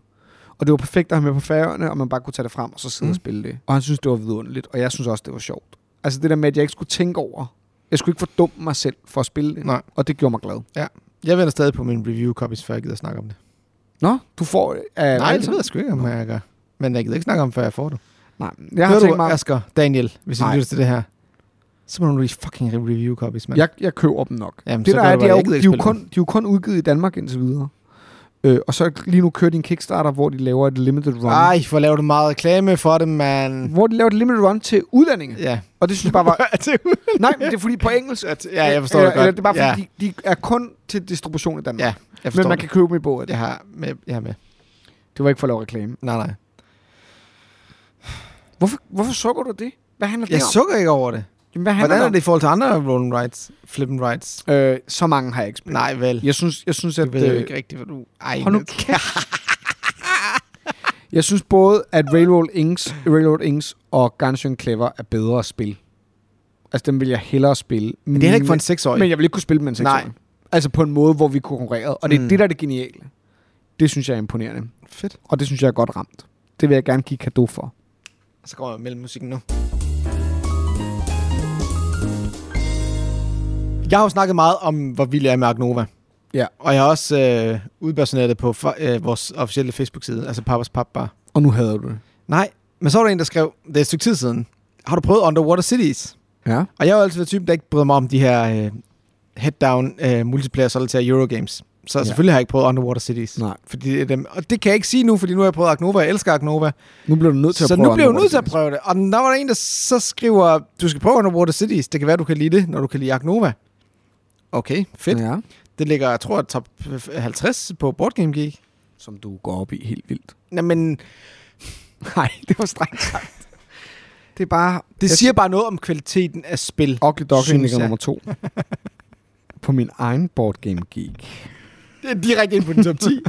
S2: Og det var perfekt at have med på færøerne, og man bare kunne tage det frem og så sidde mm.
S1: Mm.
S2: og spille det. Og han synes, det var vidunderligt, og jeg synes også, det var sjovt. Altså det der med, at jeg ikke skulle tænke over, jeg skulle ikke fordumme mig selv for at spille det,
S1: Nej.
S2: og det gjorde mig glad.
S1: Jeg venter stadig på mine review copies, før jeg gider snakke om det.
S2: Nå, du får... Øh,
S1: Nej, det ved jeg sgu ikke, om jeg gør. Men jeg gider ikke snakke om, før jeg får det.
S2: Nej, jeg har
S1: Hører
S2: tænkt
S1: du,
S2: mig...
S1: Asger, Daniel, hvis I
S2: Nej.
S1: lytter til det her. Så må du lige fucking review copies, mand.
S2: Jeg, jeg køber dem nok.
S1: Jamen,
S2: det
S1: så
S2: der
S1: gør
S2: er,
S1: du
S2: det
S1: bare-
S2: er, jo,
S1: jeg
S2: de,
S1: gider
S2: er
S1: ikke
S2: jo
S1: spille
S2: kun, de er jo kun udgivet i Danmark indtil videre. Øh, og så lige nu kører de en Kickstarter, hvor de laver et limited run.
S1: Ej, for laver du meget reklame for det, mand.
S2: Hvor de laver et limited run til udlændinge.
S1: <laughs> Ja.
S2: Og det synes jeg bare var... Nej, men det er fordi på engelsk...
S1: ja, jeg forstår
S2: eller,
S1: det godt.
S2: Eller det er bare
S1: ja,
S2: fordi, de, de er kun til distribution i Danmark.
S1: Ja, jeg forstår
S2: men man kan
S1: det.
S2: købe dem i bogen.
S1: Jeg har med, jeg har med.
S2: Det var ikke for at lave reklame.
S1: Nej, nej.
S2: Hvorfor, hvorfor sukker du det? Hvad handler det
S1: Jeg
S2: om?
S1: sukker ikke over det.
S2: Jamen, hvad handler
S1: Hvordan er det
S2: det?
S1: i forhold til andre rolling rights? Flipping rights?
S2: om? Øh, så mange har jeg ikke spillet.
S1: Nej, vel.
S2: Jeg synes, jeg synes
S1: Jeg
S2: at...
S1: ved jo
S2: øh,
S1: ikke rigtigt, hvad du... Ej,
S2: Hold nu
S1: men-
S2: kæft. <laughs> jeg synes både, at Railroad Inks, Railroad Inks og Guns N' Clever er bedre at spille. Altså, dem vil jeg hellere spille.
S1: Men det er heller ikke for en seksårig.
S2: Men jeg vil ikke kunne spille med en
S1: Nej.
S2: seksårig. Altså på en måde, hvor vi konkurrerede. Og det er
S1: Mm.
S2: mm. det, der er det geniale. Det synes jeg er imponerende.
S1: Fedt.
S2: Og det synes jeg er godt ramt. Det vil jeg gerne give kado for.
S1: Så kommer jeg mellem musikken nu. Jeg har jo snakket meget om, hvor vild jeg er med Agnova.
S2: Ja.
S1: Og jeg har også øh, udpersoneret det på fa- øh, vores officielle Facebook-side, altså Papas Papbar.
S2: Og nu hader du det.
S1: Nej, men så var der en, der skrev, det er et stykke tid siden, har du prøvet Underwater Cities?
S2: Ja.
S1: Og jeg har jo altid været typen, der ikke bryder mig om de her øh, head-down øh, multiplayer solitaire Eurogames. Så
S2: Ja.
S1: selvfølgelig har jeg ikke prøvet Underwater Cities.
S2: Nej.
S1: Fordi det er dem. Og det kan jeg ikke sige nu, fordi nu har jeg prøvet Agnova. Jeg elsker Agnova.
S2: Nu bliver du nødt til at
S1: Så
S2: prøve
S1: nu bliver jeg
S2: andre
S1: nødt til at
S2: World
S1: prøve det. Og der var der en, der så skriver, du skal prøve Underwater Cities. Det kan være, du kan lide det, når du kan lide Agnova. Okay, fedt.
S2: Series.
S1: Ja.
S2: Ja.
S1: Det ligger, jeg tror, top 50 på Board Game Geek.
S2: Som du går op i helt vildt. <laughs>
S1: Nå, men
S2: Nej, det var strengt sagt. Det er bare...
S1: det
S2: Jeg-
S1: siger bare noget om kvaliteten af spil.
S2: Ugly Dog
S1: Synes
S2: ligger
S1: jeg.
S2: nummer to. <laughs> På min egen Board Game Geek.
S1: Det er direkte ind på den top <laughs> 10.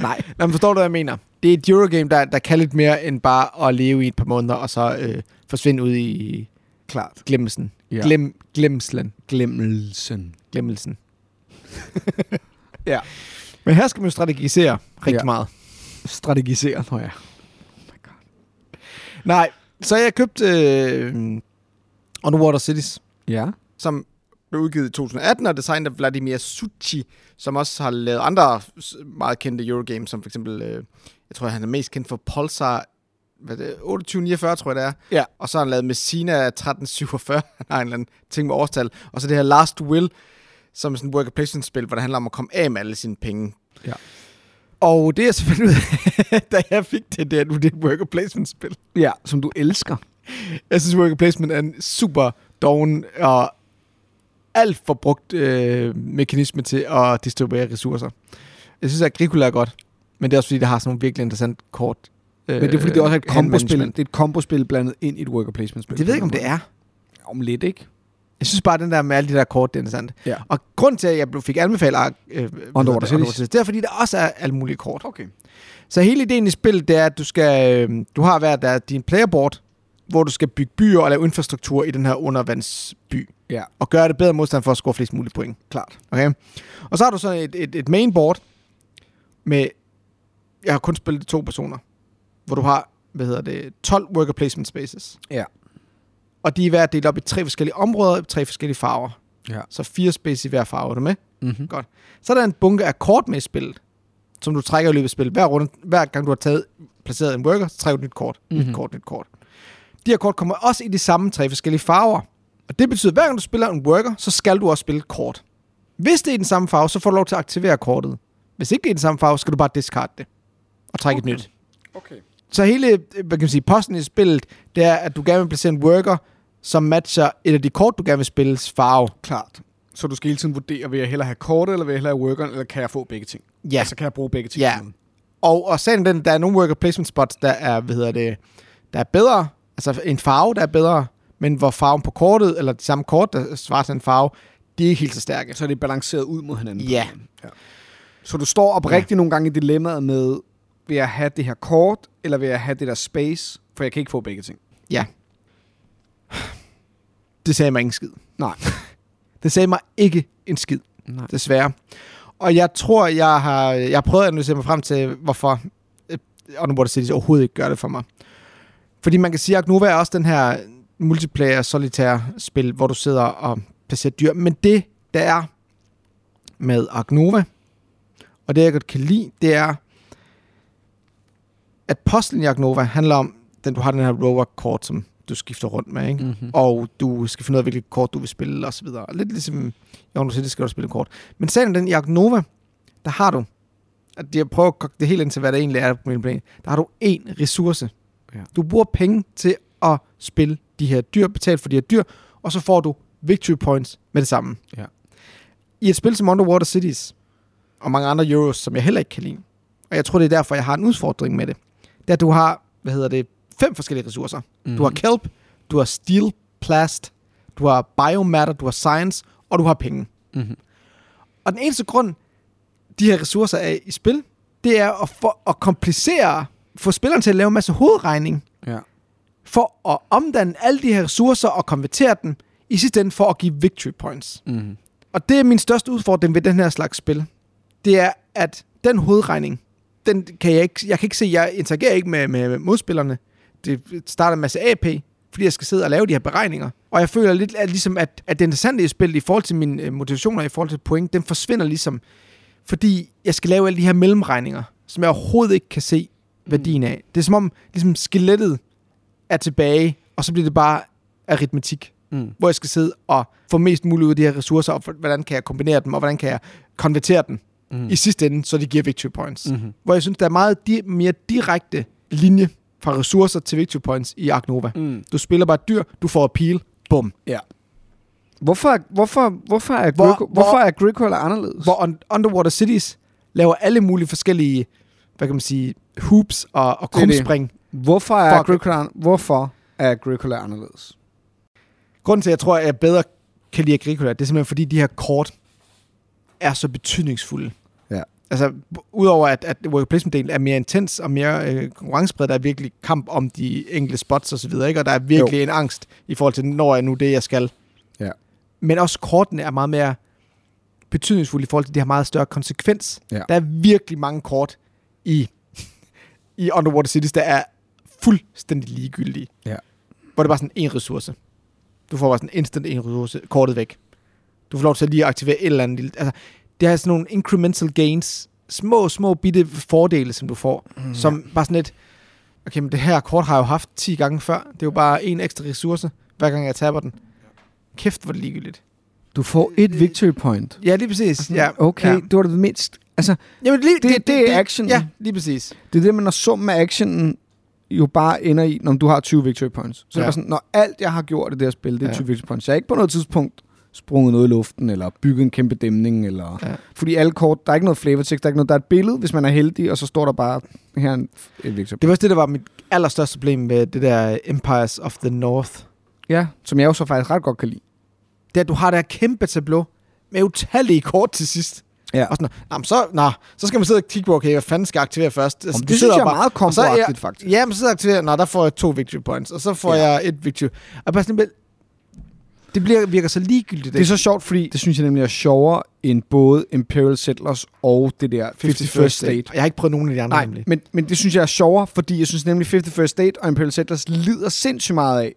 S1: Nej. Nå, men forstår du, hvad jeg mener? Det er et Eurogame, der, der kan lidt mere end bare at leve i et par måneder, og så øh, forsvinde ud i
S2: Klart.
S1: glemmelsen.
S2: Ja.
S1: Ja. Glem, glemslen.
S2: Glemmelsen.
S1: <laughs> Glemmelsen.
S2: Ja.
S1: Men her skal man jo strategisere rigtig
S2: Ja.
S1: ja. meget.
S2: Strategisere, når jeg...
S1: Nej, så jeg købte øh, Underwater Cities,
S2: Ja.
S1: som blev udgivet i 2018 og designet af Vladimir Suchi, som også har lavet andre s- meget kendte Eurogames, som for eksempel, øh, jeg tror, han er mest kendt for Pulsar hvad er det, 2849, tror jeg det er.
S2: Ja.
S1: Og så har han lavet Messina 1347, <laughs> han har en eller anden ting med årstal. Og så det her Last Will, som er sådan et worker placement spil, hvor det handler om at komme af med alle sine penge.
S2: Ja.
S1: Og det er selvfølgelig ud af, <laughs> da jeg fik det der, nu det er et worker placement spil.
S2: Ja, som du elsker.
S1: Jeg synes, worker placement er en super doven og alt for brugt øh, mekanisme til at distribuere ressourcer. Jeg synes, at Agricola er godt, men det er også fordi, det har sådan nogle virkelig interessant kort. Øh,
S2: Men det er fordi, det også er et
S1: hand
S2: kombospil.
S1: management.
S2: Det er et kombospil blandet ind i et worker placement spil.
S1: Det ved jeg ikke, om det er.
S2: Om lidt, ikke?
S1: Jeg synes bare, at den der med alle de der kort, det er interessant.
S2: Ja.
S1: Og grund til, at jeg blev- fik anbefalet Ar- øh,
S2: Underwater Cities.
S1: det er fordi, der også er alle mulige kort.
S2: Okay.
S1: Så hele ideen i spillet, det er, at du, skal, øh, du har hver der din playerboard, hvor du skal bygge byer og lave infrastruktur i den her undervandsby.
S2: Ja.
S1: Og gøre det bedre modstand for at score flest mulige point.
S2: Klart.
S1: Okay? Og så har du sådan et, et, et mainboard med... Jeg har kun spillet det to personer. Hvor du har, hvad hedder det, 12 worker placement spaces.
S2: Ja.
S1: Og de er hver delt op i tre forskellige områder, i tre forskellige farver.
S2: Ja.
S1: Så fire spaces i hver farve, er du med?
S2: Mm-hmm.
S1: Godt. Så er der en bunke af kort med i spillet, som du trækker i løbet af spillet. Hver, runde, hver gang du har taget, placeret en worker, så trækker du et nyt kort. Mm-hmm.
S2: Mhm.
S1: Nyt kort, nyt kort. De her kort kommer også i de samme tre forskellige farver. Og det betyder, at hver gang du spiller en worker, så skal du også spille et kort. Hvis det er i den samme farve, så får du lov til at aktivere kortet. Hvis ikke det er i den samme farve, skal du bare discard det. Og trække okay. et nyt.
S2: Okay.
S1: Så hele, øh, hvad kan man sige, posten i spillet, det er, at du gerne vil placere en worker, som matcher et af de kort, du gerne vil spilles farve.
S2: Klart. Så du skal hele tiden vurdere, vil jeg hellere have kortet, eller vil jeg hellere have workeren, eller kan jeg få begge ting?
S1: Ja.
S2: Altså, kan jeg bruge begge ting?
S1: Ja.
S2: til noget?
S1: Og, og sagen er den, der er nogle worker placement spots, der er, hvad hedder det, der er bedre, altså en farve, der er bedre, men hvor farven på kortet, eller de samme kort, der svarer til en farve, de er ikke helt så stærke.
S2: Så er det balanceret ud mod hinanden.
S1: Ja.
S2: ja. Så du står oprigtigt nogle gange i dilemmaet med, vil jeg have det her kort, eller vil jeg have det der space? For jeg kan ikke få begge ting.
S1: Ja. Det sagde mig ingen skid.
S2: <laughs> Nej.
S1: Det sagde mig ikke en skid,
S2: Nej.
S1: desværre. Og jeg tror, jeg har, jeg har prøvet at analysere mig frem til, hvorfor øh, Underwater Cities overhovedet ikke gør det for mig. Fordi man kan sige, at Nova er også den her multiplayer solitaire spil, hvor du sidder og placerer dyr. Men det, der er med Agnova, og det jeg godt kan lide, det er, at postlen i Agnova handler om, den, du har den her rover kort, som du skifter rundt med, ikke?
S2: Mm-hmm.
S1: og du skal finde ud af, hvilket kort du vil spille og så videre. Lidt ligesom i universitetet skal du spille kort. Men sagen er den, i Agnova, der har du, at jeg prøver at koge det helt ind til, hvad det egentlig er på min plan, der har du én ressource.
S2: Ja.
S1: Du bruger penge til at spille de her dyr, betalt for de her dyr, og så får du victory points med det samme.
S2: Ja.
S1: I et spil som Underwater Cities, og mange andre Euros, som jeg heller ikke kan lide, og jeg tror, det er derfor, jeg har en udfordring med det, det er, at du har, hvad hedder det, fem forskellige ressourcer.
S2: Mm-hmm.
S1: Du har kelp, du har steel, plast, du har biomatter, du har science, og du har penge.
S2: mm-hmm.
S1: Og den eneste grund, de her ressourcer er i spil, det er at, for, at komplicere, få spilleren til at lave en masse hovedregning,
S2: Ja.
S1: for at omdanne alle de her ressourcer og konvertere dem, i sidste ende for at give victory points.
S2: Mm-hmm.
S1: Og det er min største udfordring ved den her slags spil. Det er, at den hovedregning, den kan jeg ikke, jeg kan ikke se, jeg interagerer ikke med, med modspillerne. Det starter en masse AP, fordi jeg skal sidde og lave de her beregninger. Og jeg føler lidt, at, ligesom, at, at det interessante i spillet i forhold til mine øh, motivationer, i forhold til point, den forsvinder ligesom, fordi jeg skal lave alle de her mellemregninger, som jeg overhovedet ikke kan se værdien af. Det er som om ligesom, skelettet er tilbage, og så bliver det bare aritmetik
S2: Mm.
S1: hvor jeg skal sidde og få mest muligt ud af de her ressourcer, og for- hvordan kan jeg kombinere dem, og hvordan kan jeg konvertere dem
S2: Mm.
S1: mm. i sidste ende, så de giver victory points. Mm.
S2: Mm-hmm.
S1: Hvor jeg synes, der er meget di- mere direkte linje fra ressourcer til victory points i Agnova. Mm.
S2: Mm.
S1: Du spiller bare et dyr, du får appeal, bum.
S2: Ja. Hvorfor, hvorfor, hvorfor, er,
S1: Hvor-
S2: Agrico,
S1: hvor-
S2: hvorfor er Agricola anderledes?
S1: Hvor un- Underwater Cities laver alle mulige forskellige, hvad kan man sige, hoops og, og
S2: Det er det.
S1: krumspring.
S2: hvorfor, er
S1: Fuck.
S2: Agricola, hvorfor er Agricola anderledes?
S1: Grunden til, at jeg tror, at jeg bedre kan lide Agricola, det er simpelthen, fordi de her kort er så betydningsfulde.
S2: Ja.
S1: Altså, b- udover at, at workplace-delen er mere intens og mere øh, konkurrencepræget, der er virkelig kamp om de enkelte spots og så videre, ikke? og der er virkelig jo. en angst i forhold til, når jeg nu det, jeg skal.
S2: Ja.
S1: Men også kortene er meget mere betydningsfulde i forhold til, at de har meget større konsekvens.
S2: Ja.
S1: Der er virkelig mange kort i, i Underwater Cities, der er fuldstændig ligegyldige.
S2: Ja.
S1: Hvor det bare er sådan en ressource. Du får bare sådan instant en ressource, kortet væk. Du får lov til at lige at aktivere et eller andet lille... Altså, det er sådan nogle incremental gains, små, små bitte fordele, som du får, mm, som bare sådan lidt, okay, men det her kort har jeg jo haft 10 gange før, det er jo bare en ekstra ressource, hver gang jeg taber den. Kæft, hvor er det ligegyldigt.
S2: Du får et victory point.
S1: Ja, lige præcis. Ja,
S2: Okay,
S1: Ja.
S2: det var det mindst. Altså,
S1: Jamen, lige,
S2: Det- det er action.
S1: Ja, lige præcis.
S2: det er det, man når summen af actionen jo bare ender i, når du har 20 victory points. Så ja. det
S1: Ja.
S2: er bare sådan, når alt jeg har gjort i det her spil, det er
S1: Ja.
S2: 20 victory points. Jeg har ikke på noget tidspunkt sprunget noget i luften, eller bygget en kæmpe dæmning, eller... Ja.
S1: Ja.
S2: Fordi alle kort, der er ikke noget flavor text, der er ikke noget, der er et billede, hvis man er heldig, og så står der bare, her er en, et victory point.
S1: Det var også det, der var mit allerstørste problem med det der Empires of the North.
S2: Ja, som jeg jo så faktisk ret godt kan lide.
S1: Det er, at du har det her kæmpe tableau med utallige kort til sidst.
S2: Ja.
S1: Og sådan, jamen, så, nå, så skal man sidde og kigge på, okay, hvad fanden skal jeg aktivere først?
S2: Altså,
S1: du
S2: det, det synes
S1: sidder
S2: jeg er
S1: bare-
S2: meget
S1: og så er jeg-
S2: komboagtigt, jeg... faktisk.
S1: Ja, men så sidder jeg og aktiverer, nå, der får jeg to victory points, og så får
S2: Ja.
S1: ja. jeg et victory. Og bare sådan, men det bliver, virker så ligegyldigt.
S2: Det er så sjovt, fordi det synes jeg nemlig er sjovere end både Imperial Settlers og det der 51st State.
S1: Jeg har ikke prøvet nogen af de andre,
S2: Nej,
S1: nemlig.
S2: men, men det synes jeg er sjovere, fordi jeg synes nemlig 51st State og Imperial Settlers lider sindssygt meget af,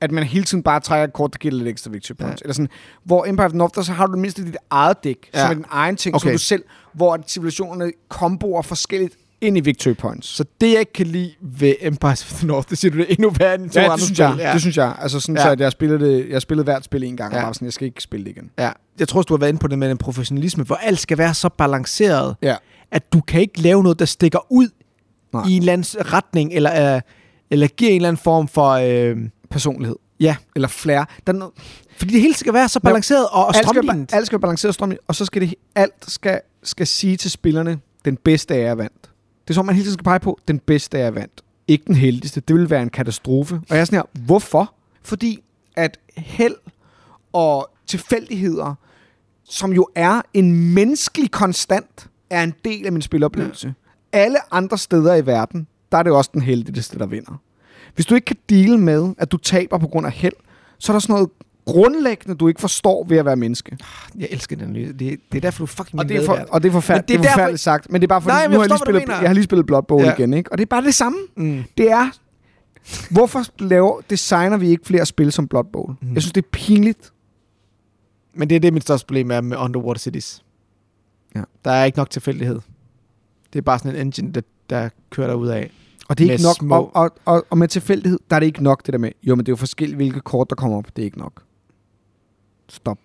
S2: at man hele tiden bare trækker et kort, der giver lidt ekstra victory points. Ja. Eller sådan, hvor Empire of the North, der så har du det mindste dit eget dæk, ja.
S1: Ja.
S2: som er din egen ting, okay. som
S1: Okay.
S2: du selv, hvor at civilisationerne komboer forskelligt ind i victory points.
S1: Så det, jeg ikke kan lide ved Empires of the North, det siger du det er endnu værre end to
S2: Ja,
S1: andre
S2: det synes,
S1: spil.
S2: jeg,
S1: Ja.
S2: det synes jeg. Altså sådan, ja.
S1: Ja.
S2: så at jeg spillede, det, jeg spillede hvert spil en gang, ja. og
S1: Ja.
S2: bare sådan, jeg skal ikke spille det igen.
S1: Ja, jeg tror også, du har været inde på det med den professionalisme, hvor alt skal være så balanceret,
S2: Ja.
S1: at du kan ikke lave noget, der stikker ud
S2: Nej.
S1: Nej. i en eller anden s- retning, eller, øh, eller giver en eller anden form for... Øh,
S2: Personlighed.
S1: ja,
S2: Eller flere. Der er no-
S1: fordi det hele skal være så balanceret og, og
S2: alt skal, være-
S1: strømlignet.
S2: alt skal være balanceret og strømlignet, og så skal det alt skal, skal sige til spillerne, den bedste er jeg vandt. Det er som man hele tiden skal pege på, den bedste er jeg vandt. Ikke den heldigste. Det ville være en katastrofe. Og jeg er sådan her, hvorfor? Fordi at held og tilfældigheder, som jo er en menneskelig konstant, er en del af min spiloplevelse. Ja. Alle andre steder i verden, der er det også den heldigste, der vinder. Hvis du ikke kan dele med, at du taber på grund af held, så er der sådan noget grundlæggende, du ikke forstår ved at være menneske.
S1: Jeg elsker den lyde. Det, det er derfor, du er fucking
S2: Og
S1: min
S2: det, er for,
S1: medvært.
S2: og det er forfærdeligt,
S1: Men det er
S2: det er
S1: derfor-
S2: forfærdeligt sagt, men det er bare fordi,
S1: Nej, men
S2: nu har jeg,
S1: jeg
S2: lige
S1: forstår, hvad du
S2: spillet,
S1: mener.
S2: jeg har lige spillet Blood Bowl
S1: Ja.
S2: igen, ikke? og det er bare det samme.
S1: Mm.
S2: Det er, hvorfor laver, designer vi ikke flere spil som Blood Bowl? Mm.
S1: Mm.
S2: Jeg synes, det er pinligt.
S1: Men det er det, mit største problem er med Underwater Cities.
S2: Ja.
S1: Der er ikke nok tilfældighed. Det er bare sådan en engine, der, der kører dig ud af.
S2: Og det er ikke
S1: med
S2: nok,
S1: små-
S2: og, og, og, og med tilfældighed, der er det ikke nok det der med, jo, men det er jo forskelligt, hvilke kort, der kommer op. Det er ikke nok. Stop.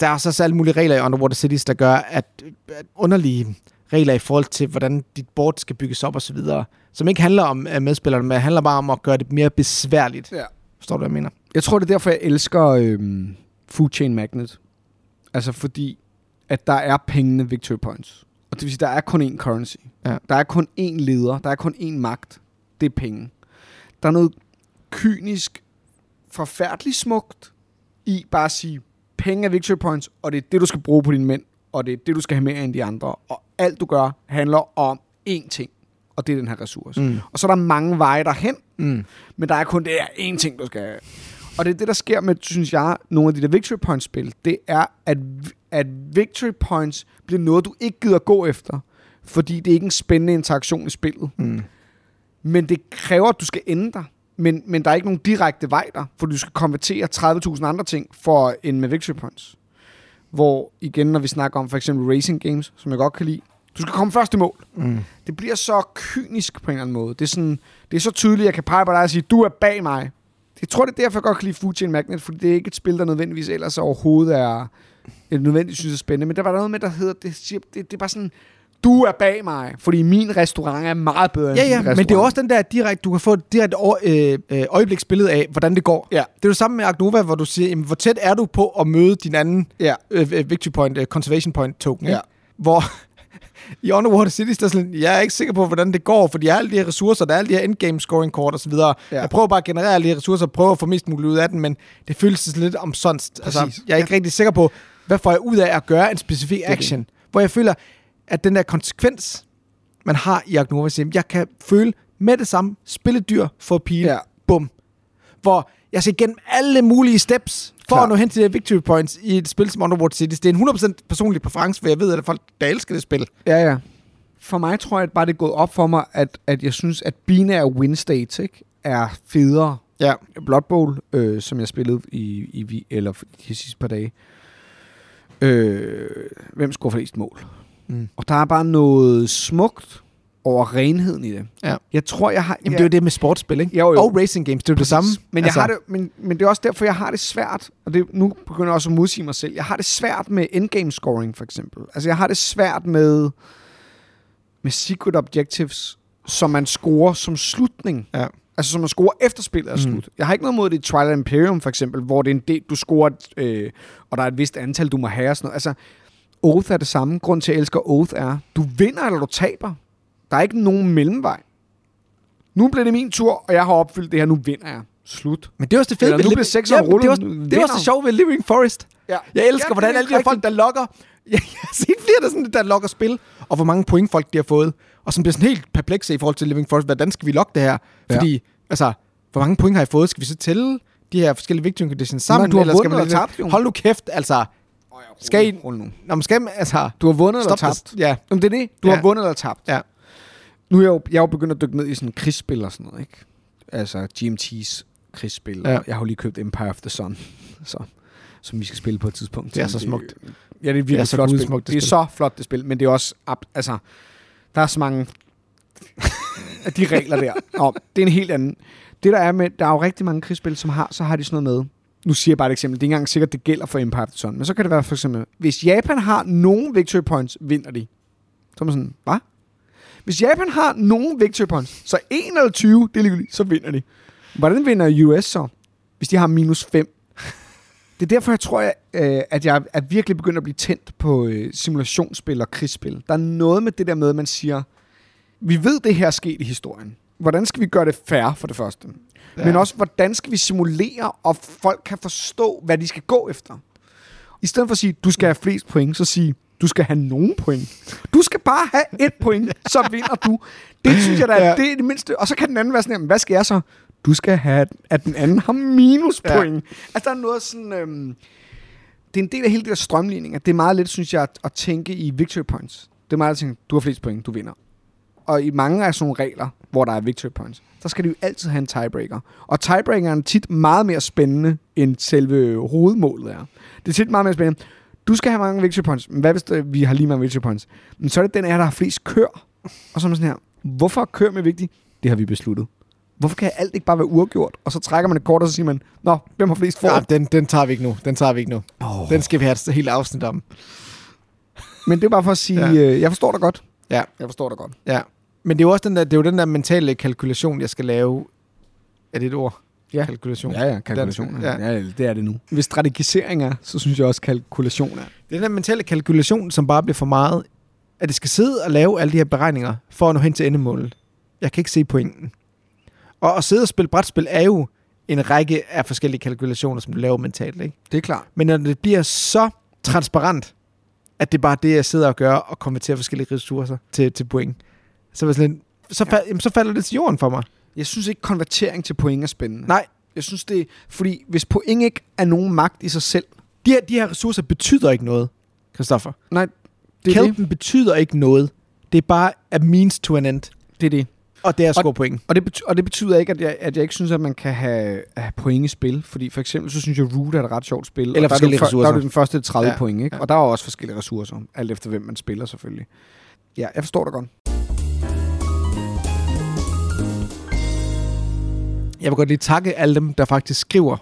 S1: der er så også alle mulige regler i Underwater Cities, der gør, at, at underlige regler i forhold til, hvordan dit board skal bygges op og så videre, som ikke handler om øh, medspillerne, men handler bare om at gøre det mere besværligt.
S2: Ja.
S1: Forstår du, hvad jeg mener?
S2: Jeg tror, det er derfor, jeg elsker øhm, Food Chain Magnet. Altså fordi, at der er pengene victory points. Og det vil sige, der er kun én currency.
S1: Ja.
S2: Der er kun én leder. Der er kun én magt. Det er penge. Der er noget kynisk, forfærdeligt smukt i bare at sige, penge er victory points, og det er det, du skal bruge på dine mænd, og det er det, du skal have mere end de andre. Og alt, du gør, handler om én ting, og det er den her ressource.
S1: Mm.
S2: Og så er der mange veje derhen,
S1: Mm.
S2: men der er kun det her én ting, du skal have. Og det er det, der sker med, synes jeg, nogle af de der victory points spil, det er, at, at victory points bliver noget, du ikke gider gå efter, fordi det er ikke en spændende interaktion i spillet.
S1: Mm.
S2: Men det kræver, at du skal ende dig. Men, men der er ikke nogen direkte vej der, for du skal konvertere 30.000 andre ting for at ende med victory points. Hvor igen, når vi snakker om for eksempel racing games, som jeg godt kan lide, du skal komme først i mål.
S1: Mm.
S2: Det bliver så kynisk på en eller anden måde. Det er, sådan, det er så tydeligt, at jeg kan pege på dig og sige, du er bag mig. Jeg tror, det er derfor, jeg godt kan lide Food Chain Magnet, fordi det er ikke et spil, der nødvendigvis ellers overhovedet er eller nødvendigvis synes er spændende. Men der var der noget med, der hedder, det, siger, det, det er bare sådan, du er bag mig, fordi min restaurant er meget bedre end
S1: Ja,
S2: din
S1: ja,
S2: restaurant.
S1: men det er jo også den der direkte, du kan få et direkte øje- øh, øh, øjebliksbillede af, hvordan det går.
S2: Ja.
S1: Det er jo samme med Agnova, hvor du siger, jamen, hvor tæt er du på at møde din anden
S2: Ja,
S1: øh, øh, victory point, øh, conservation point token,
S2: Ja.
S1: ikke? hvor <laughs> i Underwater Cities, der er sådan, jeg er ikke sikker på, hvordan det går, fordi jeg har alle de her ressourcer, der er alle de her endgame scoring kort osv. Ja.
S2: Ja.
S1: Jeg prøver bare at generere alle de her ressourcer, prøver at få mest muligt ud af den, men det føles sådan lidt omsonst. Altså,
S2: Præcis.
S1: jeg er ikke rigtig sikker på, hvad får jeg ud af at gøre en specifik
S2: det.
S1: action, hvor jeg føler, at den der konsekvens, man har i Agnova, siger, jeg kan føle med det samme, spille dyr, få pile,
S2: Ja.
S1: bum. Hvor jeg skal igennem alle mulige steps for
S2: Klar.
S1: at nå hen til de her victory points i et spil som Underwater Cities. Det er en 100% personlig præference, for jeg ved, at der er folk, der elsker det spil.
S2: ja, ja. For mig tror jeg at bare, det er gået op for mig, at, at jeg synes, at binære win states ikke, er federe
S1: Ja.
S2: Blood Bowl, øh, som jeg spillede i, i vi- eller for de sidste par dage. Øh, hvem scorer flest mål?
S1: Mm.
S2: Mm. Og der er bare noget smukt over renheden i det.
S1: Ja.
S2: Jeg tror, jeg har...
S1: Jamen, ja.
S2: jeg,
S1: det er jo det med sportsspil, ikke?
S2: Jo, jo.
S1: Og racing games, det er jo det samme.
S2: Men, jeg altså. har det, men, men det er også derfor, jeg har det svært, og det, nu begynder jeg også at modsige mig selv, jeg har det svært med endgame scoring for eksempel. Altså jeg har det svært med, med secret objectives, som man scorer som slutning.
S1: Ja.
S2: Altså som man scorer efter spillet er
S1: Mm.
S2: slut. Jeg har ikke noget mod det i Twilight Imperium for eksempel, hvor det er en del, du scorer, øh, og der er et vist antal, du må have og sådan noget. Altså Oath er det samme. Grund til, at jeg elsker Oath er, du vinder eller du taber. Der er ikke nogen mellemvej. Nu bliver det min tur, og jeg har opfyldt det her. Nu vinder jeg. Slut.
S1: Men det er også det fede
S2: Eller nu bliver sekseren
S1: Jamen,
S2: rullet,
S1: Det er også
S2: den
S1: det, er
S2: vinder.
S1: også det sjove ved Living Forest.
S2: Ja.
S1: Jeg elsker,
S2: Ja,
S1: ja, hvordan
S2: det er
S1: alle de her folk,
S2: rigtigt.
S1: der <laughs> logger... Jeg har set flere, der, sådan, der logger spil, og hvor mange point folk de har fået. Og som bliver sådan helt perplekse i forhold til Living Forest. Hvordan skal vi logge det her?
S2: Ja.
S1: Fordi, altså, hvor mange point har I fået? Skal vi så tælle de her forskellige victory conditions sammen?
S2: Men du har
S1: eller skal
S2: vundet
S1: man
S2: og
S1: lige-
S2: tabt, jo.
S1: Hold nu kæft, altså. Skal I-
S2: Rul nu.
S1: Nå, men skal man, altså...
S2: Du har vundet eller
S1: Stop
S2: tabt.
S1: det. Ja,
S2: Jamen, det er det. Du
S1: Ja.
S2: har vundet eller tabt.
S1: Ja.
S2: Nu er jeg jo, jeg er jo begyndt at dykke ned i sådan krigsspil og sådan noget, ikke? Altså GMT's krigsspil.
S1: Ja.
S2: Ja. Jeg har jo lige købt Empire of the Sun, <laughs> så, som vi skal spille på et tidspunkt.
S1: Det er
S2: Men
S1: så smukt.
S2: Ja, det er virkelig
S1: Det er
S2: det
S1: så
S2: flot spil.
S1: gudsmukt, det
S2: det er
S1: spil.
S2: så flot, det spil, men det er også... ab- Altså, der er så mange <laughs> af de regler der. Om. Det er en helt anden... Det der er med, der er jo rigtig mange krigsspil, som har, så har de sådan noget med, nu siger jeg bare et eksempel, det er ikke engang sikkert, det gælder for Empire of the Sun, men så kan det være for eksempel, hvis Japan har nogen victory points, vinder de. Så er man sådan, hvad? Hvis Japan har nogen victory points, så 1 eller 20, det er ligegyldigt, så vinder de. Hvordan vinder US så, hvis de har minus 5? Det er derfor, jeg tror, jeg, øh, at jeg er virkelig begyndt at blive tændt på øh, simulationsspil og krigsspil. Der er noget med det der med, at man siger, vi ved, det her er sket i historien. Hvordan skal vi gøre det fair for det første? Ja. Men også, hvordan skal vi simulere, og folk kan forstå, hvad de skal gå efter? I stedet for at sige, du skal have flest point, så sige, du skal have nogen point. Du skal bare have et point, så vinder du. Det synes jeg da,
S1: Ja.
S2: ja. det er det mindste. Og så kan den anden være sådan, jamen, hvad skal jeg så? Du skal have, at den anden har minuspoint. Ja. Altså, der er noget sådan... Øhm, det er en del af hele det der strømligning, at det er meget let, synes jeg, at, at tænke i victory points. Det er meget let at tænke, du har flest point, du vinder. Og i mange af sådan nogle regler, hvor der er victory points, der skal de jo altid have en tiebreaker. Og tiebreakeren er tit meget mere spændende, end selve hovedmålet er. Det er tit meget mere spændende. Du skal have mange victory points. Men hvad hvis det, vi har lige mange victory points? Men så er det den af jer, der har flest kør. Og så er man sådan her, hvorfor er kør med vigtigt? Det har vi besluttet. Hvorfor kan alt ikke bare være uafgjort? Og så trækker man et kort, og så siger man, Nå, hvem har flest for?
S1: Ja, den, den tager vi ikke nu. Den tager vi ikke nu.
S2: Oh.
S1: Den skal vi have et helt afsnit om.
S2: Men det er bare for at sige,
S1: Ja.
S2: ja. øh, jeg forstår dig godt.
S1: Ja.
S2: Jeg forstår dig godt.
S1: Ja. Men det er jo også den der, det er jo den der mentale kalkulation, jeg skal lave. Er det et ord?
S2: Ja.
S1: Kalkulation.
S2: Ja, ja, kalkulationer.
S1: Ja.
S2: Ja. ja, det er det nu. Hvis strategisering er, så synes jeg også kalkulation er.
S1: Det er den der mentale kalkulation, som bare bliver for meget. At det skal sidde og lave alle de her beregninger, for at nå hen til endemålet. Jeg kan ikke se pointen. Og at sidde og spille brætspil er jo en række af forskellige kalkulationer, som du laver mentalt, ikke?
S2: Det er klart.
S1: Men når det bliver så transparent, at det er bare det, jeg sidder og gør, og konverterer forskellige ressourcer til, til point, så, er jeg sådan, lidt- så, fal, jamen, så falder det til jorden for mig.
S2: Jeg synes ikke, konvertering til point er spændende.
S1: Nej.
S2: Jeg synes det, er- fordi hvis point ikke er nogen magt i sig selv,
S1: De her, de her ressourcer betyder ikke noget, Christoffer.
S2: nej, det er det.
S1: Kælpen betyder ikke noget. Det er bare a means to an end.
S2: det, er det.
S1: Og det er at score point.
S2: Og, det betyder, og det betyder ikke, at jeg, at jeg ikke synes, at man kan have, have point i spil. Fordi for eksempel, så synes jeg, Root er et ret sjovt spil. og der
S1: Eller
S2: er det
S1: forskellige
S2: jo før-
S1: ressourcer.
S2: Der er det den første 30
S1: Ja,
S2: ja, point, ikke?
S1: ja.
S2: Ja. Og der er også forskellige ressourcer, alt efter hvem man spiller selvfølgelig. Ja, jeg forstår dig godt.
S1: Jeg vil godt lige takke alle dem, der faktisk skriver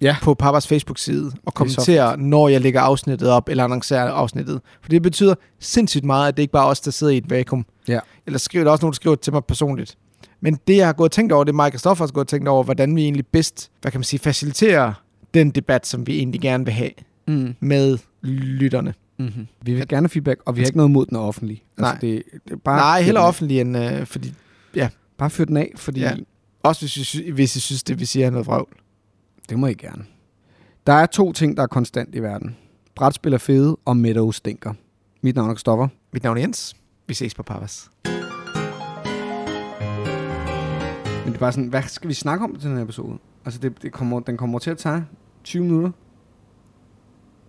S2: Ja.
S1: på Papas Facebook-side og
S2: Det er så
S1: kommenterer, når jeg lægger afsnittet op eller annoncerer afsnittet. For det betyder sindssygt meget, at det ikke bare er os, der sidder i et vakuum.
S2: Ja.
S1: Eller skriver der er også nogen, der skriver til mig personligt. Men det, jeg har gået og tænkt over, det er mig og Christoffer har gået og tænkt over, hvordan vi egentlig bedst, hvad kan man sige, faciliterer den debat, som vi egentlig gerne vil have
S2: Mm.
S1: med lytterne.
S2: Mm-hmm. Vi vil gerne have feedback, og vi har ikke noget mod den er offentlig.
S1: Nej.
S2: Altså, det, det er bare
S1: Bare Nej, heller
S2: fyr den af.
S1: offentlig end, øh, fordi,
S2: Bare fyr den af, fordi
S1: Ja.
S2: ja.
S1: også hvis I, sy- hvis I synes, det vi siger er noget vrøvl.
S2: det må I gerne. Der er to ting, der er konstant i verden. Brætspil er fede, og Meadow stinker. Mit navn er Stopper.
S1: Mit navn er Jens. Vi ses på Papas.
S2: Men det er bare sådan, hvad skal vi snakke om til den her episode? Altså, det, det kommer, den kommer til at tage 20 minutter.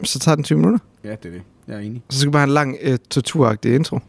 S1: Så tager den 20 minutter.
S2: Ja, det er det. Jeg er enig.
S1: Så skal vi bare have en lang, øh, torturagtig intro.